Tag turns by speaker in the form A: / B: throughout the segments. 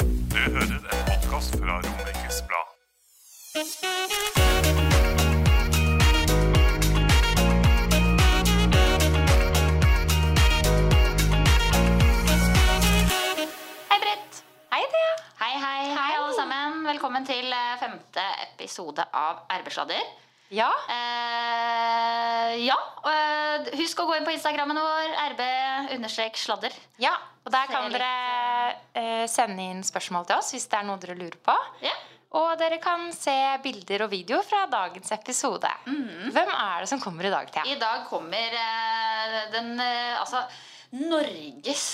A: Du hører en podkast fra Romerikes Blad.
B: Hei, Britt. Hei, Thea. Hei, hei, hei, alle sammen. Velkommen til eh, femte episode av Arbeidssladder. Ja. Eh, ja. Og, eh, husk å gå inn på Instagrammen vår, rb-sladder.
C: Ja, og der
B: Så
C: kan
B: det er
C: dere eh, sende inn spørsmål til oss hvis det er noe dere lurer på.
B: Ja.
C: Og dere kan se bilder og videoer fra dagens episode. Hvem er det som kommer i dag, Thea?
B: Mm. I dag kommer eh, den eh, Altså, Norges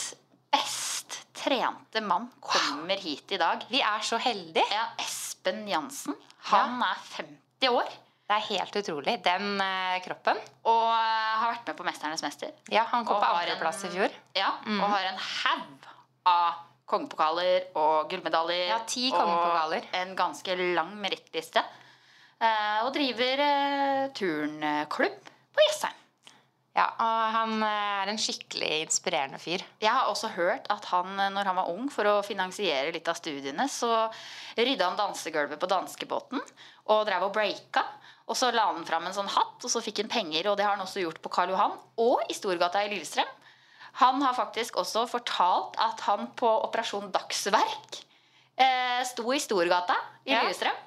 B: best trente mann kommer hit i dag.
C: Vi er så heldige.
B: Ja, Espen Jansen. Han er 50 år
C: Det er helt utrolig. Den eh, kroppen.
B: og eh, har vært med på 'Mesternes mester'.
C: Ja, han kom
B: Og
C: på
B: har
C: andreplass
B: en-
C: i fjor. Mm.
B: Ja, og har en haug av kongepokaler og gullmedaljer.
C: Ja, ti kongepokaler.
B: Og en ganske lang merittliste. Eh, og driver eh, turnklubb på Jessheim.
C: Ja, og han eh, er en skikkelig inspirerende fyr.
B: Jeg har også hørt at han, eh, når han var ung, for å finansiere litt av studiene, så rydda han dansegulvet på danskebåten og drev og breaka. Og så la han fram en sånn hatt, og så fikk han penger, og det har han også gjort på Karl Johan og i Storgata i Lillestrøm. Han har faktisk også fortalt at han på Operasjon Dagsverk eh, sto i Storgata i
C: Ja.
B: Lillestrøm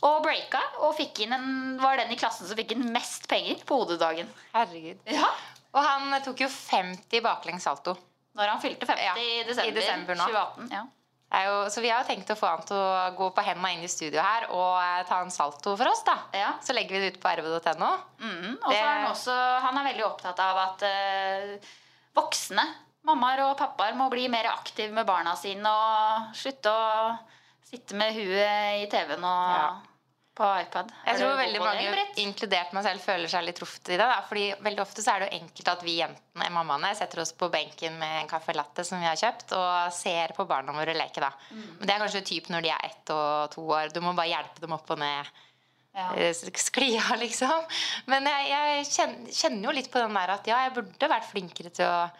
B: og breaka, og fikk inn en, var den i klassen som fikk inn mest penger på hodedagen.
C: Herregud.
B: Ja,
C: Og han eh, tok jo 50 baklengs salto.
B: Når han fylte 50
C: Ja,
B: i desember,
C: i desember nå.
B: 2018. Ja.
C: Det er jo, så vi har jo tenkt å få han til å gå på henda inn i studio her og eh, ta en salto for oss, da.
B: Ja.
C: Så legger vi det ut på rv.no.
B: Mm, og så
C: Det-
B: er han også Han er veldig opptatt av at eh, voksne, mammaer og pappaer, må bli mer aktive med barna sine og slutte å sitte med huet i TV-en og
C: Ja.
B: på iPad. Har
C: Jeg
B: du
C: tror
B: god
C: veldig
B: på det,
C: mange,
B: Britt?
C: inkludert meg selv, føler seg litt truffet i det. Da. Fordi veldig ofte så er det jo enkelt at vi jentene, mammaene, setter oss på benken med en caffè latte som vi har kjøpt, og ser på barna våre leke, da.
B: Mm.
C: Men det er kanskje typ når de er ett og to år. Du må bare hjelpe dem opp og ned
B: Ja.
C: eh, sklia, liksom. Men jeg, jeg kjenner, kjenner jo litt på den der at ja, jeg burde vært flinkere til å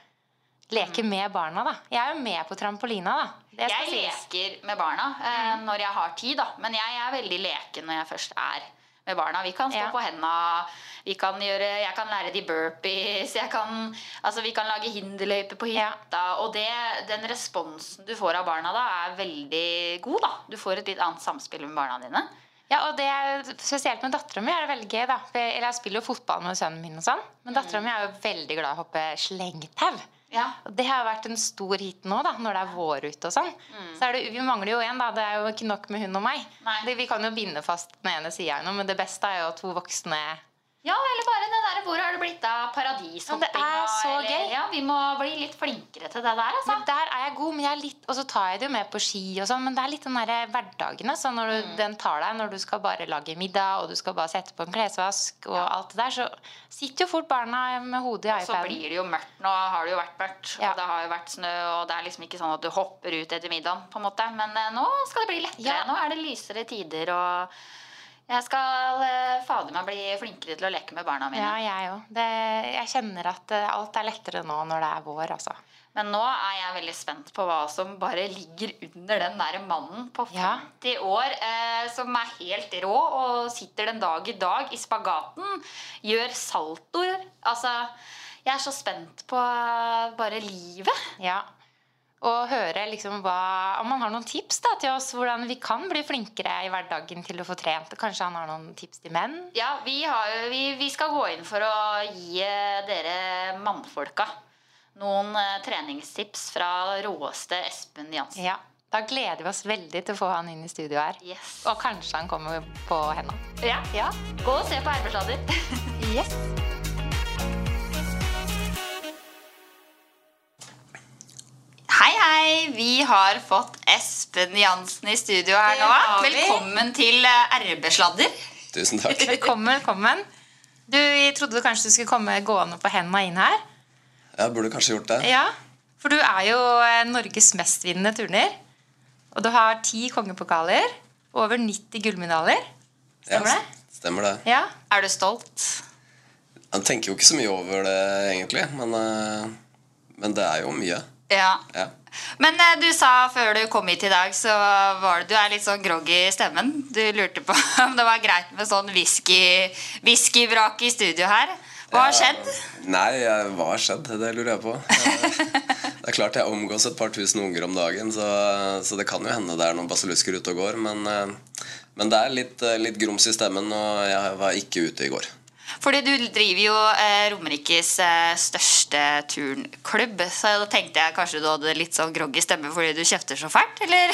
C: leke
B: Mm.
C: med barna, da. Jeg er jo med på trampolina, da. Det skal
B: Jeg
C: sies. Mhm.
B: leker med barna eh, når jeg har tid, da. Men jeg er veldig leken når jeg først er med barna. Vi kan stå
C: Ja.
B: på henda, vi kan gjøre, jeg kan lære de burpees, jeg kan, altså, vi kan lage hinderløype på hytta. Og det, den responsen du får av barna da, er veldig god, da. Du får et litt annet samspill med barna dine.
C: Ja, og det er Spesielt med dattera mi er det veldig gøy. da For jeg, eller jeg spiller jo fotball med sønnen min, og sånn
B: Mm.
C: men dattera mi er jo veldig glad i å hoppe slengtau.
B: Ja.
C: Og Det har vært en stor hit nå, da når det er vår ute og sånn. Så er det, Vi mangler jo en, da. Det er jo ikke nok med hun og meg.
B: Mm. Nei.
C: Det, vi kan jo binde fast den ene sida, men det beste er jo to voksne
B: Ja, eller bare det der Hvor har det blitt
C: Ja,
B: av paradishoppinga?
C: det er så
B: eller-
C: gøy.
B: Ja, vi må bli litt flinkere til det der, altså.
C: Men der er jeg god, men jeg er litt, og så tar jeg det jo med på ski og sånn, men det er litt den derre hverdagen. altså, når
B: Mm.
C: du, Den tar deg når du skal bare lage middag, og du skal bare sette på en klesvask og alt det der, så sitter jo fort barna med hodet i
B: Og så
C: iPaden.
B: blir det jo mørkt. Nå har det jo vært mørkt,
C: Ja.
B: og det har jo vært snø, og det er liksom ikke sånn at du hopper ut etter middagen, på en måte. Men eh, nå skal det bli lettere.
C: Ja.
B: Nå er det lysere tider, og jeg skal eh, fader meg bli flinkere til å leke med barna mine.
C: Ja, jeg òg. Jeg kjenner at eh, alt er lettere nå når det er vår, altså.
B: Men nå er jeg veldig spent på hva som bare ligger under den der mannen på 50
C: Ja.
B: år eh, som er helt rå og sitter den dag i dag i spagaten, gjør saltoer. Altså, jeg er så spent på eh, bare livet.
C: Ja. Og høre liksom hva, om han har noen tips da, til oss hvordan vi kan bli flinkere i hverdagen til å få trent. Kanskje han har noen tips til menn?
B: Ja, vi, har, jo- vi, vi skal gå inn for å gi eh, dere mannfolka noen eh, treningstips fra råeste Espen Jansen.
C: Ja. Da gleder vi oss veldig til å få han inn i studio her.
B: Yes.
C: Og kanskje han kommer på henda.
B: Ja. Gå og se på arbeidsladder.
C: Yes.
B: Hei, hei! Hei, vi har fått Espen Jansen i studio her
C: Det
B: nå.
C: har vi.
B: Velkommen til eh, RB-sladder.
D: Tusen takk.
C: Velkommen, velkommen. Du, jeg trodde kanskje du skulle komme gående på hendene inn her.
D: Jeg burde kanskje gjort det.
C: Ja, for du er jo eh, Norges mestvinnende turner. Og du har ti kongepokaler, over 90 gullmedaljer. Stemmer
D: Ja,
C: det?
D: Stemmer det.
C: Ja.
B: Er du stolt?
D: Jeg tenker jo ikke så mye over det, egentlig, men, eh, men det er jo mye.
B: Ja.
D: Ja.
B: Men eh, du sa før du kom hit i dag, så var det, du er litt sånn groggy i stemmen. Du lurte på om det var greit med sånn whisky- whiskyvrak i studio her. Hva har
D: Jeg-
B: skjedd?
D: Nei, jeg- hva har skjedd? Det lurer jeg på. Eh, Det er klart jeg omgås et par tusen unger om dagen, så, så det kan jo hende det er noen basillusker ute og går, men, eh, men det er litt, eh, litt grums i stemmen, og jeg var ikke ute i går.
B: Fordi du driver jo eh, Romerikes eh, største turnklubb, så da tenkte jeg kanskje du hadde litt sånn groggy stemme fordi du kjefter så fælt, eller?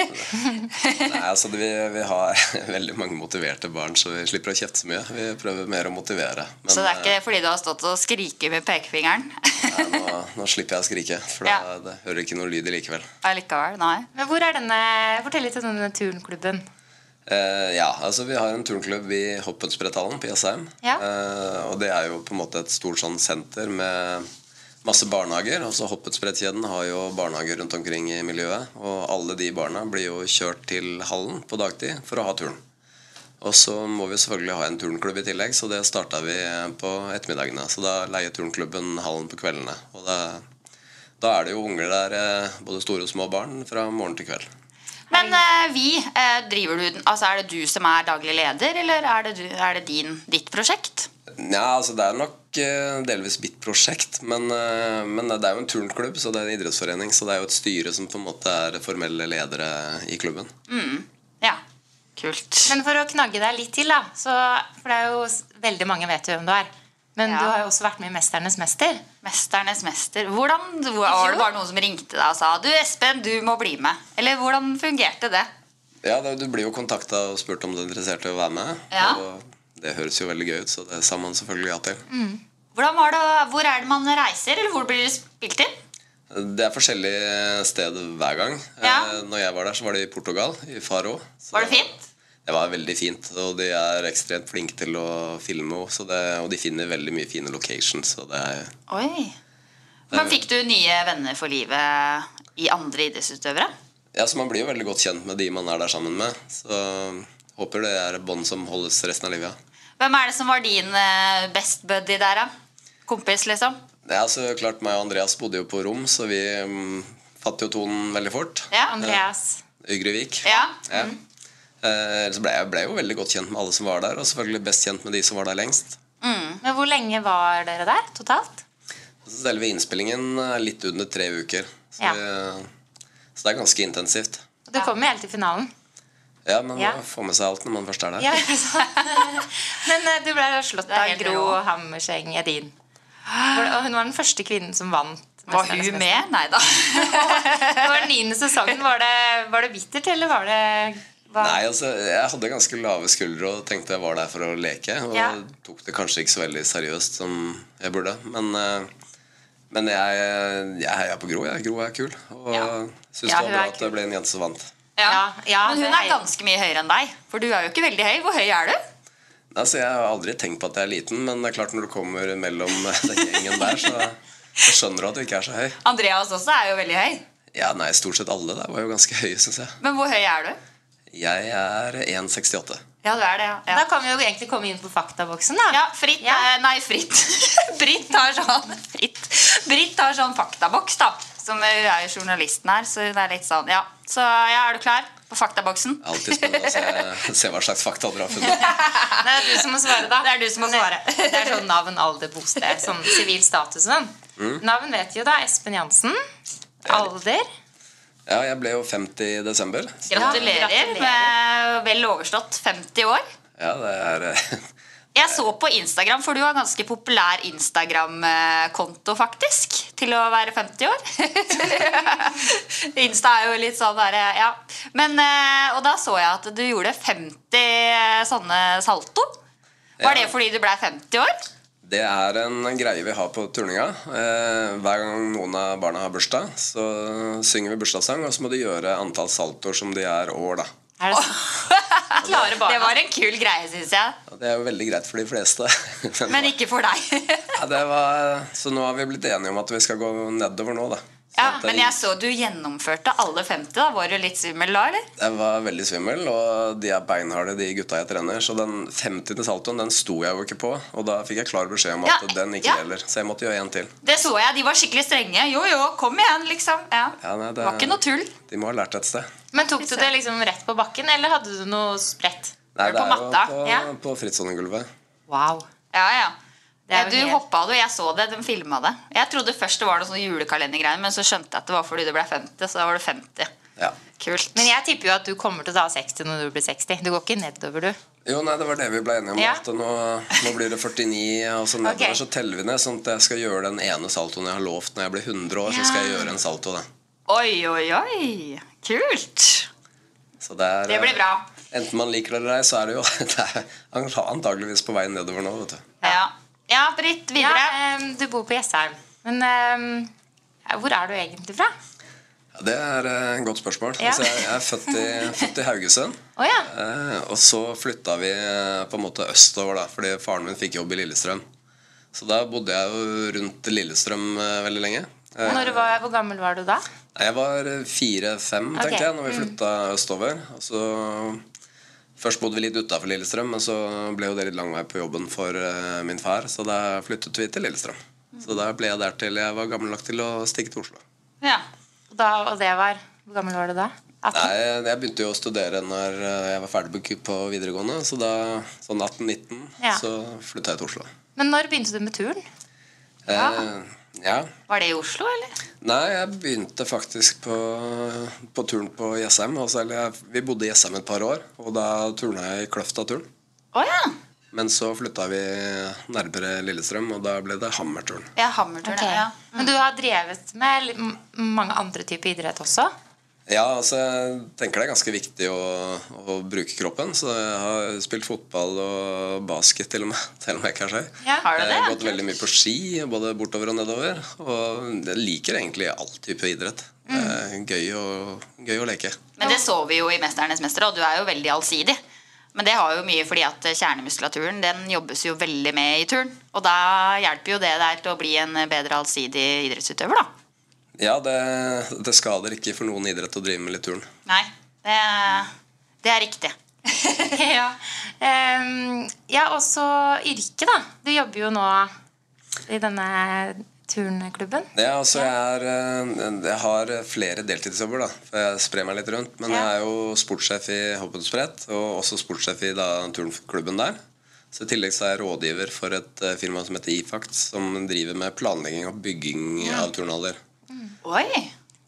D: Nei, altså det- vi, vi har veldig mange motiverte barn, så vi slipper å kjefte så mye. Vi prøver mer å motivere. Men,
B: så det er
D: eh,
B: ikke fordi du har stått og skriket med pekefingeren?
D: Nei, nå, nå slipper jeg å skrike, for da,
B: Ja.
D: det hører ikke noe lyd likevel.
B: Allikevel, nei.
C: Men hvor er denne, fortell litt om denne turnklubben.
D: Eh, ja, altså Vi har en turnklubb i Hoppenspretthallen på Jessheim.
C: Ja.
D: Eh, og det er jo på en måte et stort sånn senter med masse barnehager. Også Hoppensbrettkjeden har jo barnehager rundt omkring i miljøet. Og alle de barna blir jo kjørt til hallen på dagtid for å ha turn. Og så må vi selvfølgelig ha en turnklubb i tillegg, så det starta vi på ettermiddagene. Så da leier turnklubben hallen på kveldene. Og det, da er det jo unger der, eh, både store og små barn, fra morgen til kveld.
B: Men eh, vi, eh, driver du den, altså er det du som er daglig leder, eller er det, du, er det din, ditt prosjekt?
D: Nja, altså det er nok eh, delvis mitt prosjekt, men, eh, men det er jo en turnklubb, så det er en idrettsforening, så det er jo et styre som på en måte er formelle ledere i klubben.
B: Ja, kult.
C: Men for å knagge deg litt til, da. Så, for det er jo s- veldig mange vet jo hvem du er. Men
B: Ja.
C: du har jo også vært med i 'Mesternes mester'.
B: Mesternes mester. Hvordan, var det bare noen som ringte deg og sa du Espen, du må bli med? Eller hvordan fungerte det?
D: Ja, det, du blir jo kontakta og spurt om du er interessert i å være med,
B: Ja.
D: og det høres jo veldig gøy ut, så det sa man selvfølgelig ja til.
B: Hvordan var det, å- hvor er det man reiser, eller hvor blir det spilt inn?
D: Det er forskjellig sted hver gang.
B: Ja.
D: Eh, Når jeg var der, så var det i Portugal, i Faro. Så
B: Var det fint?
D: Det var veldig fint, og de er ekstremt flinke til å filme, også, det, og de finner veldig mye fine locations, så det er
B: Oi. Men fikk du nye venner for livet i andre idrettsutøvere?
D: Ja, så Man blir jo veldig godt kjent med de man er der sammen med. Så håper det er et bånd som holdes resten av livet. ja.
B: Hvem er det som var din eh, best buddy der, da? Kompis, liksom?
D: Ja, så altså klart Meg og Andreas bodde jo på rom, så vi mm, fatt jo tonen veldig fort.
B: Ja.
C: Andreas.
D: Ygrevik.
B: Ja.
D: Ja. Eh, så ble jeg ble jo veldig godt kjent med alle som var der, og selvfølgelig best kjent med de som var der lengst.
C: Men hvor lenge var dere der totalt?
D: Så selve innspillingen er litt under tre uker, så,
C: Ja.
D: vi, så det er ganske intensivt.
C: Og du kom jo helt til finalen.
D: Ja, Man
C: Ja.
D: må få med seg alt når man først er der.
C: Ja, ikke sant? Men eh, du ble slått
B: Det er
C: av
B: helt
C: Gro
B: rå.
C: Hammerseng Edin. Hvor- Og hun var den første kvinnen som vant.
B: Var
C: Mesternes mester.
B: hun med? Nei da.
C: Det var den niende sesongen. Var det, var det bittert, eller var det hva?
D: Nei, altså, jeg hadde ganske lave skuldre og tenkte jeg var der for å leke. Og
C: Ja.
D: tok det kanskje ikke så veldig seriøst som jeg burde. Men, eh, men jeg, jeg heier på Gro. Jeg. Gro er kul. Og
B: Ja.
D: syns
C: Ja,
D: det
C: hun
D: var bra
C: er
D: at det ble en jente som vant.
C: Ja, ja,
B: Men hun
C: det er
B: er ganske mye høyere enn deg. For du er jo ikke veldig høy. Hvor høy er du?
D: Altså, jeg har aldri tenkt på at jeg er liten, men det er klart når du kommer mellom den gjengen der, så, så skjønner du at du ikke er så høy.
B: Andreas også er jo veldig høy.
D: Ja, nei, Stort sett alle der var jo ganske høye, syns jeg.
B: Men hvor høy er du?
D: Jeg er 1,68.
B: Ja, du er det, ja.
C: Da kan vi jo egentlig komme inn på faktaboksen, da.
B: Ja, fritt
C: Ja.
B: eh, Nei, fritt. Britt har sånn fritt. Britt har sånn faktaboks, da. Som eh, hun er jo journalisten her, så det er litt sånn, ja. Så ja, er du klar på faktaboksen?
D: Alltid spennende å se, se hva slags fakta dere har funnet.
C: Det er du som må svare, da.
B: Det er du som må svare.
C: Det er sånn navn, alder, bosted, sånn sivil status og sånn. Navn vet vi jo, da. Espen Jansen. Alder.
D: Ja, jeg ble jo 50 i desember. så-
B: Gratulerer,
C: gratulerer.
B: med vel overstått 50 år.
D: Ja, det er eh,
B: Jeg så på Instagram, for du har ganske populær Instagram-konto, faktisk. Til å være 50 år. Insta er jo litt sånn derre Ja. Men, eh, og da så jeg at du gjorde 50 sånne salto. Var
D: Ja.
B: det fordi du ble 50 år?
D: Det er en greie vi har på turninga. Eh, Hver gang noen av barna har bursdag, så synger vi bursdagssang, og så må de gjøre antall saltoer som de er år, da.
C: Er det Klare barna.
B: Det var en kul greie, syns jeg.
D: Og Det er jo veldig greit for de fleste. Men
B: Men ikke for deg.
D: ja, det var, så nå har vi blitt enige om at vi skal gå nedover nå, da.
B: ja, men jeg så du gjennomførte alle femte. da Var du litt svimmel da, eller?
D: Jeg var veldig svimmel, og de er beinharde, de gutta jeg trener. Så den 50. saltoen den sto jeg jo ikke på, og da fikk jeg klar beskjed om at
B: Ja,
D: den ikke
B: ja.
D: gjelder. Så jeg måtte gjøre en til.
B: Det så jeg. De var skikkelig strenge. Jo, jo, kom igjen, liksom. Ja.
D: Ja, nei,
B: Det var ikke noe tull.
D: De må ha lært et sted.
C: Men tok du det liksom rett på bakken, eller hadde du noe spredt?
D: Nei,
C: Var det
D: det
C: på
D: er jo
C: matta?
D: på,
C: Ja.
D: på frittsonegulvet.
C: Wow.
B: Ja, ja. Eh,
C: Det er jo
B: du
C: helt-
B: hoppa det, og jeg så det. De filma det. Jeg trodde først det var noe sånn julekalendergreier, men så skjønte jeg at det var fordi det ble 50. Så da var det 50.
D: Ja.
B: Kult.
C: Men jeg tipper jo at du kommer til å ta 60 når du blir 60. Du går ikke nedover, du.
D: Jo, nei, det var det vi ble enige om.
C: Ja.
D: At nå, nå blir det 49, og så nedover
C: Ok.
D: så teller vi ned. Sånn at jeg skal gjøre den ene saltoen jeg har lovt når jeg blir 100 år. Så skal jeg
B: Ja.
D: gjøre en salto, da.
B: Oi, oi, oi. Kult.
D: Så det, er, eh,
B: Det blir bra.
D: Enten man liker det eller ei, så er det jo det er antageligvis på vei nedover nå, vet du.
B: Ja, ja Britt, videre.
C: Ja, ehm, du bor på Jessheim. Men ehm, hvor er du egentlig fra?
D: Ja, det er eh, et godt spørsmål.
C: Ja.
D: Altså, jeg jeg er født i, født i Haugesund.
C: Å ja.
D: Eh, og så flytta vi eh, på en måte østover, da, fordi faren min fikk jobb i Lillestrøm. Så da bodde jeg jo rundt Lillestrøm eh, veldig lenge. Eh,
C: Når du var, hvor gammel var du da?
D: Jeg var fire-fem,
C: Ok,
D: tenkte jeg, når vi flytta østover. Og så Først bodde vi litt utafor Lillestrøm, men så ble jo det litt lang vei på jobben for eh, min far, så da flyttet vi til Lillestrøm. Så da ble jeg der til jeg var gammel nok til å stikke til Oslo.
B: Ja.
C: da og det var, hvor gammel var du da? 18?
D: Nei, jeg begynte jo å studere når eh, jeg var ferdig på- på videregående, så da, sånn 18-19,
C: Ja.
D: så flytta jeg til Oslo.
C: Men når begynte du med turen?
D: Eh, ja.
B: Var det i Oslo, eller?
D: Nei, jeg begynte faktisk på, på turen på Jessheim. Altså, eller jeg, vi bodde i Jessheim et par år, og da turna jeg i Kløfta-turn.
B: Å ja.
D: Men så flytta vi nærmere Lillestrøm, og da ble det Hammerturn.
B: Ja, Hammerturn.
C: Ok.
B: Ja.
C: Men du har drevet med litt- m- mange andre typer idrett også?
D: Ja, altså, jeg tenker det er ganske viktig å, å bruke kroppen, så jeg har spilt fotball og basket til og med. Til og med kanskje.
C: Ja.
B: Har du
D: Jeg
B: det?
D: har gått veldig mye på ski, både bortover og nedover. Og jeg liker egentlig all type idrett. Det er
B: Mm.
D: gøy å, gøy å leke.
B: Men det så vi jo i 'Mesternes mester', og du er jo veldig allsidig. Men det har jo mye fordi at kjernemuskulaturen den jobbes jo veldig med i turn. Og da hjelper jo det der til å bli en bedre allsidig idrettsutøver, da.
D: Ja, det, det skader ikke for noen idrett å drive med litt turn.
B: Nei, det, det er riktig.
C: ja. Ehm, ja, også yrke, da. Du jobber jo nå i denne turnklubben.
D: Ja, altså jeg, er, eh, jeg har flere deltidsjobber, da. For jeg sprer meg litt rundt. Men jeg er jo sportssjef i Hoppensprett, og også sportssjef i da, turnklubben der. Så I tillegg så er jeg rådgiver for et eh, firma som heter Ifact, som driver med planlegging og bygging av turnhaller.
B: Oi!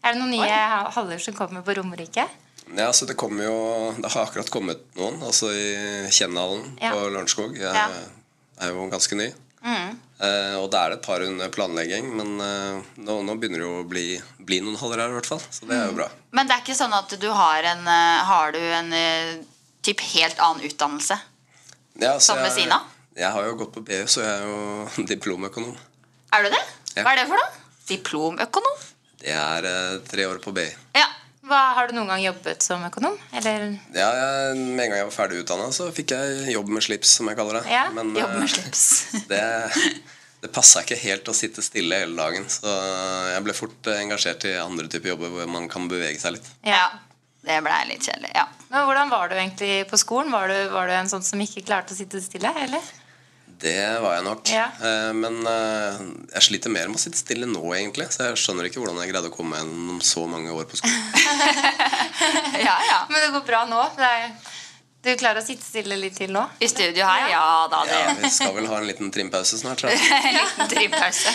C: Er det noen nye ha- haller som kommer på Romerike?
D: Ja, så Det kommer jo, det har akkurat kommet noen, altså i Kjennhallen
C: Ja.
D: på Lørenskog. Jeg
B: Ja.
D: er jo ganske ny. Eh, og det er det et par under planlegging, men eh, nå, nå begynner det jo å bli, bli noen haller her i hvert fall. Så det er jo bra.
B: Men det er ikke sånn at du har en, eh, har du en eh, typ helt annen utdannelse?
D: Ja, så
B: Som ved
D: jeg-
B: siden av?
D: Jeg har jo gått på BU, så jeg er jo diplomøkonom.
B: Er du det?
D: Ja.
B: Hva er det for noe? Diplomøkonom?
D: Det er eh, tre år på BI.
B: Ja.
C: Hva, har du noen gang jobbet som økonom? Eller
D: Ja, jeg, med en gang jeg var ferdig utdanna, så fikk jeg jobb med slips, som jeg kaller det.
C: Ja,
D: men
B: Jobb med
D: eh,
B: slips.
D: det, det passa ikke helt å sitte stille hele dagen. Så jeg ble fort eh, engasjert i andre typer jobber hvor man kan bevege seg litt.
B: Ja. Det ble litt kjedelig. Ja.
C: Men hvordan var du egentlig på skolen? Var du, var du en sånn som ikke klarte å sitte stille? eller?
D: Det var jeg nok.
C: Ja.
D: Eh, Men eh, jeg sliter mer med å sitte stille nå, egentlig. Så jeg skjønner ikke hvordan jeg greide å komme meg gjennom så mange år på skolen.
B: ja, ja.
C: Men det går bra nå. Det er, du klarer å sitte stille litt til nå?
B: I studio her? Ja da, det
D: Ja, vi skal vel ha en liten trimpause snart. tror jeg.
B: En liten drimpause.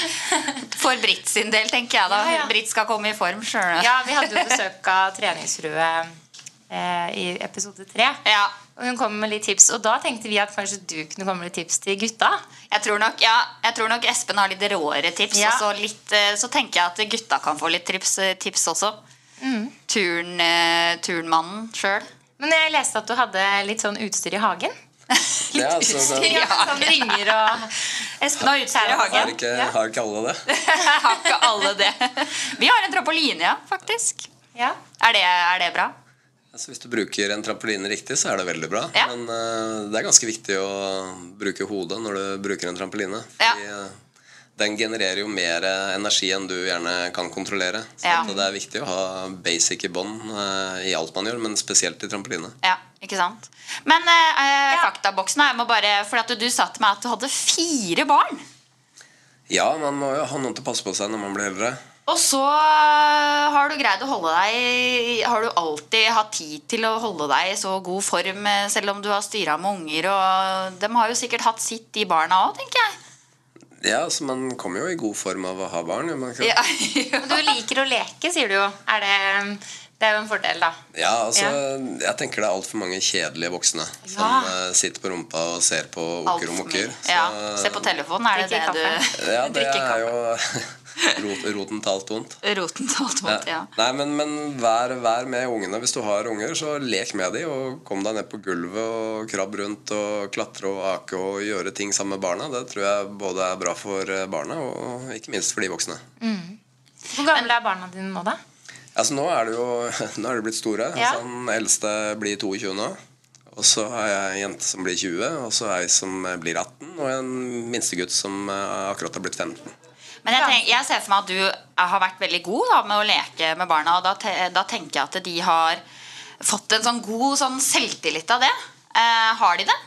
B: For Britt sin del, tenker jeg da.
C: Ja, ja.
B: Britt skal komme i form, skjønner du.
C: Ja, vi hadde jo besøk av treningsfrue eh, i episode tre.
B: Ja.
C: Og hun kom med litt tips, og da tenkte vi at kanskje du kunne komme med litt tips til gutta.
B: Jeg tror, nok, ja, jeg tror nok Espen har litt råere tips.
C: Ja.
B: Og så, litt, eh, så tenker jeg at gutta kan få litt tips, tips også.
C: Mm.
B: Turn, eh, turnmannen sjøl.
C: Men jeg leste at du hadde litt sånn utstyr i hagen.
D: Det er altså det-
C: Som ringer og
B: Espen har utskjær i
D: Har
B: hagen.
D: ikke, har ikke alle det?
B: Har ikke alle det. Vi har en trampoline, ja, faktisk.
C: Ja.
B: Er det, er det bra?
D: Altså, hvis du bruker en trampoline riktig, så er det veldig bra.
B: Ja.
D: Men eh, det er ganske viktig å bruke hodet når du bruker en trampoline.
B: Ja.
D: Fordi, eh, den genererer jo mer eh, energi enn du gjerne kan kontrollere. Så
B: Ja.
D: at det er viktig å ha basic i bånn eh, i alt man gjør, men spesielt i trampoline.
B: Ja, ikke sant? Men eh, faktaboksen jeg må bare, for at du sa til meg at du hadde fire barn.
D: Ja, man må jo ha noen til å passe på seg når man blir eldre.
B: Og så eh, har du greid å holde deg Har du alltid hatt tid til å holde deg i så god form, eh, selv om du har styra med unger, og de har jo sikkert hatt sitt, de barna òg, tenker jeg.
D: Ja, så Man kommer jo i god form av å ha barn. gjør Man ikke?
B: Ja,
C: Men du liker å leke, sier du jo. Er det, det er jo en fordel, da.
D: Ja, altså,
C: Ja.
D: jeg tenker det er altfor mange kjedelige voksne som
C: Ja.
D: eh, sitter på rumpa og ser på
B: Alt
D: okker og
B: for
D: mokker.
B: mye. Ja, Se på telefonen, er det
C: Drikker
B: det du
D: Ja, det
B: Drikker
D: er jo rot, roten til alt vondt.
B: Roten til alt vondt, ja.
D: Nei, men, men vær, vær med ungene. Hvis du har unger, så lek med dem. Og kom deg ned på gulvet og krabb rundt og klatre og ake og gjøre ting sammen med barna. Det tror jeg både er bra for eh, barna og ikke minst for de voksne.
C: Hvor gamle er barna dine nå, da?
D: Altså, nå er det jo nå er det blitt store.
C: Ja.
D: Altså, den eldste blir 22 nå. Og så har jeg en jente som blir 20, og så ei som blir 18, og en minstegutt som eh, akkurat har blitt 15.
B: Men jeg, tenk, jeg ser for meg at du eh, har vært veldig god da, med å leke med barna. Og da, te, da tenker jeg at de har fått en sånn god sånn selvtillit av det. Eh, har de det?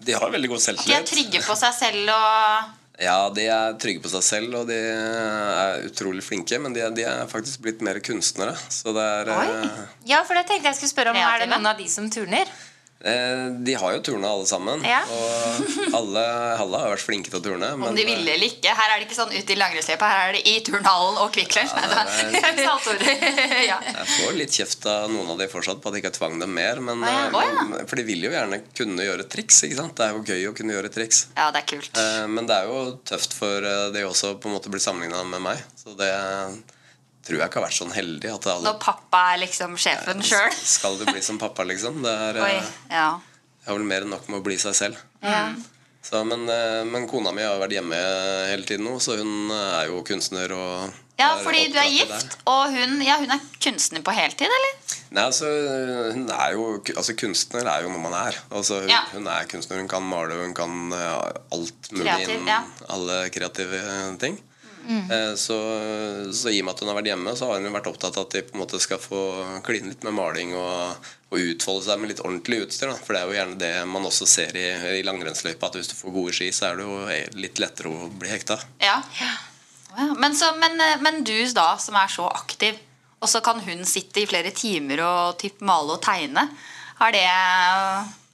D: De har veldig god
B: At de er
D: selvtillit.
B: trygge på seg selv og
D: Ja, de er trygge på seg selv, og de er utrolig flinke. Men de er, de er faktisk blitt mer kunstnere. Så det er eh,
C: Ja, for det tenkte jeg skulle spørre om. Er det
B: Kreative.
C: noen av de som turner?
D: eh, De har jo turna, alle sammen.
C: Ja.
D: Og alle, alle har vært flinke til å turne.
B: om de ville eller ikke. Her er det ikke sånn ut i langrennsløypa, her er det i turnhallen og Kvikk Lunsj. Nei,
D: det
B: da. ja.
D: eh, Jeg får litt kjeft av noen av de fortsatt på at jeg ikke tvang dem mer. Men,
B: Å ja.
D: eh,
B: Å ja.
D: men- For de vil jo gjerne kunne gjøre triks. ikke sant? Det er jo gøy å kunne gjøre triks.
B: ja, det er kult.
D: Eh, Men det er jo tøft for eh, de også på en måte blir sammenligna med meg. Så det tror jeg ikke har vært sånn heldig. at alle...
B: Når pappa er liksom sjefen sjøl.
D: Skal du bli som pappa, liksom? Det er,
B: Oi.
D: eh,
B: Ja.
D: jeg har vel mer enn nok med å bli seg selv. Så, men, eh, men kona mi har vært hjemme hele tiden nå, så hun eh, er jo kunstner og
B: ja,
D: er
B: fordi du er
D: oppdratt til det.
B: gift, og hun, ja, hun er kunstner på heltid, eller?
D: Nei, altså, hun er jo, altså Kunstner er jo noe man er. Altså, hun,
B: Ja.
D: hun er kunstner. Hun kan male, hun kan eh, alt mulig
B: Kreativ,
D: innen
B: ja. Mm.
D: alle kreative eh, ting. Eh, Så, så i og med at hun har vært hjemme, så har hun vært opptatt av at de på en måte skal få kline litt med maling og, og utfolde seg med litt ordentlig utstyr. Da. For det er jo gjerne det man også ser i, i langrennsløypa, at hvis du får gode ski, så er det jo e-, litt lettere å bli hekta.
B: Ja. Wow. Men, så, men, eh, men du da, som er så aktiv, og så kan hun sitte i flere timer og typ male og tegne. Har det,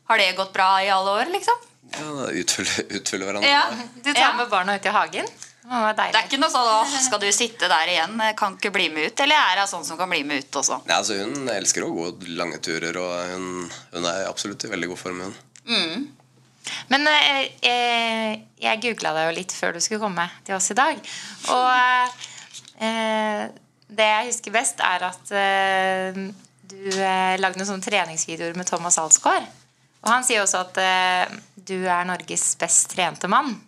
B: har det gått bra i alle år, liksom?
D: Ja, utfylle, utfylle hverandre.
B: Ja.
C: Du tar
B: Ja.
C: med barna ut i hagen? Det må være
B: Det er
C: deilig.
B: ikke noe sånn 'Åh, skal du sitte der igjen? Kan ikke bli med ut.' Eller er hun sånn som kan bli med ut også?
D: Nei, altså Hun elsker å gå lange turer, og hun, hun er absolutt i veldig god form. hun.
C: Men eh, eh, jeg googla deg jo litt før du skulle komme til oss i dag. Og eh, det jeg husker best, er at eh, du eh, lagde noen sånne treningsvideoer med Thomas Alsgaard. Og han sier også at eh, du er Norges best trente mann.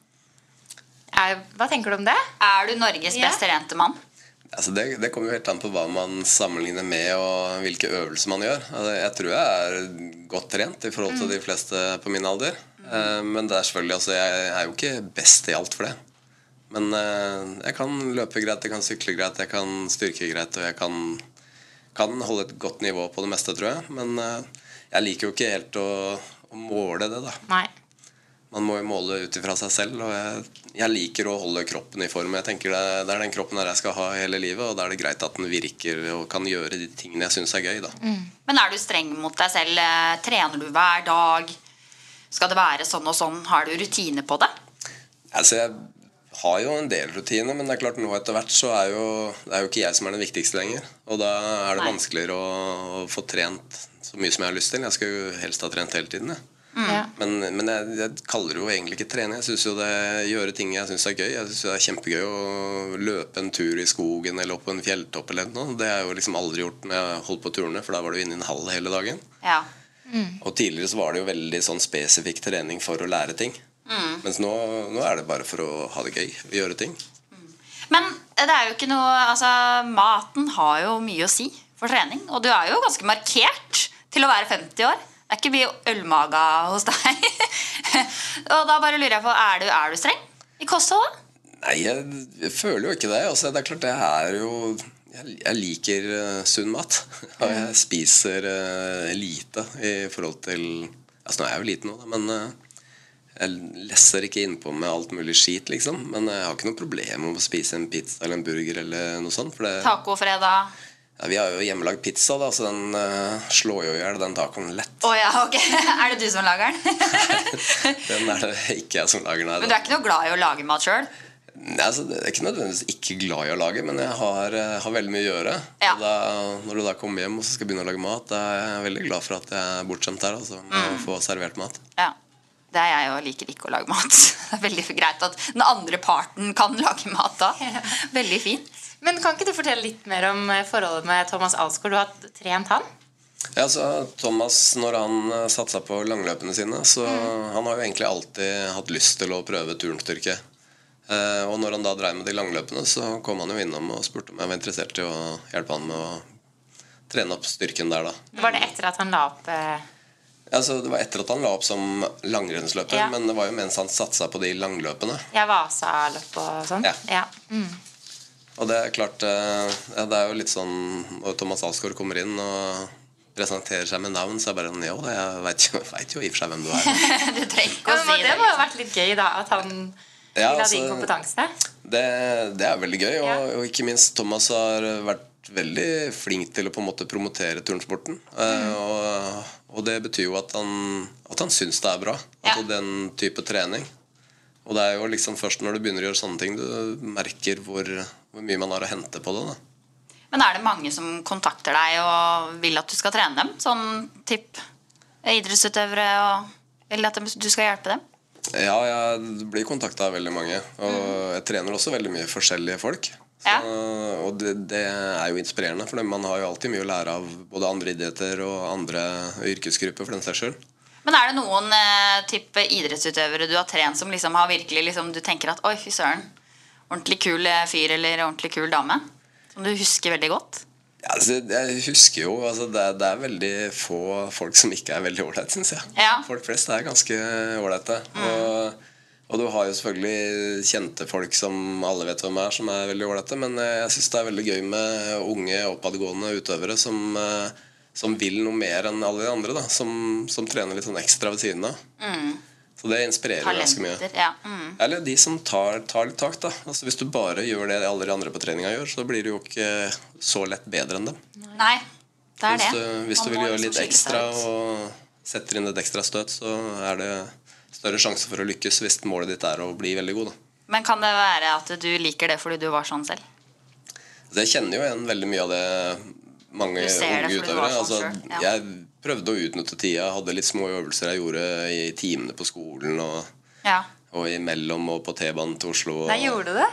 C: Er, hva tenker du om det?
B: Er du Norges
C: Ja.
B: best trente mann?
D: Altså det, det kommer jo helt an på hva man sammenligner med, og hvilke øvelser man gjør. Altså, jeg tror jeg er godt trent i forhold til de fleste på min alder. Eh, Men det er selvfølgelig, altså, jeg er jo ikke best i alt for det. Men eh, jeg kan løpe greit, jeg kan sykle greit, jeg kan styrke greit, og jeg kan, kan holde et godt nivå på det meste, tror jeg. Men eh, jeg liker jo ikke helt å, å måle det, da.
C: Nei.
D: man må jo måle ut ifra seg selv. Og jeg, jeg liker å holde kroppen i form. Jeg tenker det, det er den kroppen her jeg skal ha hele livet, og da er det greit at den virker og kan gjøre de tingene jeg syns er gøy. da.
B: Men er du streng mot deg selv? Eh, Trener du hver dag? Skal det være sånn og sånn? Har du rutine på det?
D: Altså, jeg har jo en del rutiner, men det er klart nå etter hvert så er jo det er jo ikke jeg som er den viktigste lenger. Og da er det
B: Nei.
D: vanskeligere å, å få trent så mye som jeg har lyst til. Jeg skal jo helst ha trent hele tiden. jeg.
C: Ja.
D: Men, men jeg, jeg kaller det jo egentlig ikke trening. Jeg syns jo det gjøre ting jeg syns er gøy. Jeg synes det er kjempegøy å løpe en tur i skogen eller opp på en fjelltopp eller noe. Det har jeg jo liksom aldri gjort når jeg holdt på turene, for da var du inne i en hall hele dagen.
B: Ja.
C: Mm.
D: Og tidligere så var det jo veldig sånn spesifikk trening for å lære ting.
B: Mm.
D: Mens nå, nå er det bare for å ha det gøy, gjøre ting.
B: Men eh, det er jo ikke noe Altså, maten har jo mye å si for trening. Og du er jo ganske markert til å være 50 år. Det er ikke mye ølmaga hos deg. og da bare lurer jeg på, er du, er du streng i kostholdet?
D: Nei, jeg, jeg føler jo ikke det. Altså, det er klart, det er jo Jeg, jeg liker eh, sunn mat. Og jeg spiser eh, lite i forhold til Altså, nå er jeg jo liten nå, da, men eh, jeg lesser ikke innpå med alt mulig skit, liksom. Men jeg har ikke noe problem med å spise en pizza eller en burger eller noe sånt. For det,
B: Tacofredag?
D: ja, vi har jo hjemmelagd pizza, da, så den eh, slår jo i hjel den tacoen lett.
B: Å ja, ok. er det du som lager den?
D: Den er det ikke jeg som lager, nei.
B: Men du er ikke noe glad i å lage mat sjøl?
D: Nei, altså, jeg er ikke nødvendigvis ikke glad i å lage, men jeg har, eh, har veldig mye å gjøre.
B: Ja.
D: Og da, når du da kommer hjem og så skal begynne å lage mat, da er jeg veldig glad for at jeg er bortskjemt her. Altså, med å få servert mat.
B: Ja. Det er jeg jo liker ikke å lage mat. Det er veldig greit at den andre parten kan lage mat da. Veldig fint.
C: Men kan ikke du fortelle litt mer om eh, forholdet med Thomas Alsgaard? Du har trent han?
D: Ja, så Thomas, når han eh, satsa på langløpene sine, så han har jo egentlig alltid hatt lyst til å prøve turnstyrke. Eh, og når han da dreiv med de langløpene, så kom han jo innom og spurte om jeg var interessert i å hjelpe han med å trene opp styrken der, da.
C: Var det etter at han la opp eh,
D: Altså, det var etter at han la opp som langrennsløper,
C: Ja.
D: men det var jo mens han satsa på de langløpene.
C: ja, Vasa-løp og sånn?
D: Ja.
C: Mm.
D: Og det er klart eh, ja, Det er jo litt sånn når Thomas Alsgaard kommer inn og presenterer seg med navn, så er jeg bare sånn Jo, da, jeg veit jo, vet jo i og for seg hvem du er.
B: Du trenger
C: Ja,
B: ikke å
C: men
B: si
C: det
B: det. liksom.
C: må jo ha vært litt gøy, da. At han vil
D: Ja,
C: ha
D: altså-
C: din kompetanse.
D: Det, det er veldig gøy, og,
C: Ja.
D: og ikke minst Thomas har vært veldig flink til å på en måte promotere turnsporten. Eh, Og, og det betyr jo at han, at han syns det er bra. Altså den type trening. Og det er jo liksom først når du begynner å gjøre sånne ting, du merker hvor, hvor mye man har å hente på det. da.
B: Men er det mange som kontakter deg og vil at du skal trene dem? Sånn tipp idrettsutøvere og Vil at dem- du skal hjelpe dem?
D: Ja, jeg blir kontakta av veldig mange. Og jeg trener også veldig mye forskjellige folk. Så,
B: Ja.
D: Og det, det er jo inspirerende, for man har jo alltid mye å lære av både andre idretter og andre yrkesgrupper. for den saks skyld.
B: Men er det noen eh, type idrettsutøvere du har trent som liksom har virkelig liksom, Du tenker at oi, fy søren. Ordentlig kul eh, fyr eller ordentlig kul dame. Som du husker veldig godt.
D: Ja, altså, jeg husker jo altså, det, er- det er veldig få folk som ikke er veldig ålreite, syns jeg.
B: Ja. Mm.
D: Folk flest er ganske ålreite. Og, og du har jo selvfølgelig kjente folk som alle vet hvem er, som er veldig ålreite. Men eh, jeg syns det er veldig gøy med unge, oppadgående utøvere som, eh, som vil noe mer enn alle de andre. Da. Som, som trener litt sånn ekstra ved siden av.
B: Mm.
D: Så det inspirerer ganske mye.
B: Talenter. Ja. Mm.
D: Eller de som tar, tar litt tak, da. Altså, hvis du bare gjør det alle de andre på treninga gjør, så blir du jo ikke så lett bedre enn dem.
B: Nei, det er
D: Hvis du,
B: det.
D: hvis du
B: Man
D: vil
B: må
D: gjøre
B: liksom
D: litt
B: skille seg
D: ekstra
B: ut.
D: og setter inn et ekstra støt, så er det større sjanse for å lykkes hvis målet ditt er å bli veldig god. Da.
B: Men kan det være at du liker det fordi du var sånn selv?
D: Så jeg kjenner jo igjen veldig mye av det mange
B: Du ser det fordi du
D: unge
B: var
D: utøvere. Altså,
B: sånn selv, ja.
D: Jeg prøvde å utnytte tida, hadde litt små øvelser jeg gjorde i timene på skolen og,
B: Ja.
D: og imellom og på T-banen til Oslo. Og,
C: Nei, gjorde du det?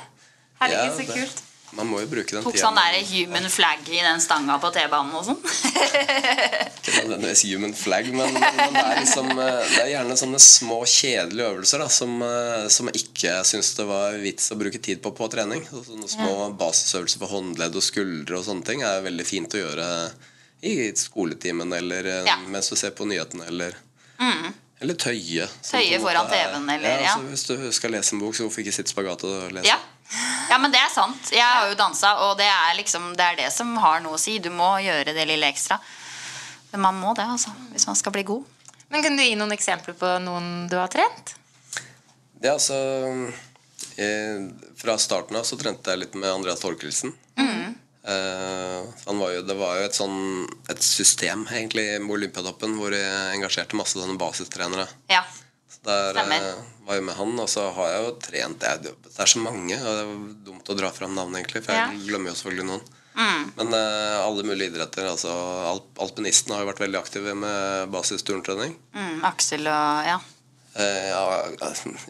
C: Herregud,
D: Ja, altså.
C: så
D: det-
C: kult.
D: Man må jo bruke den
B: Tok
D: tida.
B: sånn der human flag i den stanga på T-banen og sånn.
D: Ikke nødvendigvis human flag, men, men, men det, er liksom, eh, det er gjerne sånne små, kjedelige øvelser da, som, eh, som jeg ikke syns det var vits å bruke tid på på trening. Så Sånne små basisøvelser for håndledd og skuldre og sånne ting er veldig fint å gjøre i skoletimen eller eh,
B: Ja.
D: mens du ser på nyhetene eller,
B: Mm.
D: eller tøye. som
B: Tøye
D: på en måte
B: foran
D: er-
B: TV-en, eller,
D: ja,
B: ja.
D: altså, Hvis du skal lese en bok, så hvorfor ikke sitte spagat og lese?
B: Ja. ja, men det er sant. Jeg har jo dansa, og det er, liksom, det er det som har noe å si. Du må gjøre det lille ekstra. Men man må det, altså. Hvis man skal bli god.
C: Men Kunne du gi noen eksempler på noen du har trent?
D: Det er altså eh, Fra starten av så trente jeg litt med Andreas Torkelsen. Eh, han var jo, det var jo et sånn Et system egentlig med Olympiatoppen hvor jeg engasjerte masse sånne basistrenere.
B: Ja.
D: Så der
B: Stemmer.
D: eh, var jeg med han, og så har jeg jo trent jeg, Det er så mange, og det er dumt å dra fram navn, egentlig, for jeg glemmer jo selvfølgelig noen.
B: Mm.
D: Men eh, alle mulige idretter. altså alp Alpinistene har jo vært veldig aktive med basisturntrening.
B: Mm, Aksel og Ja.
D: Eh, ja,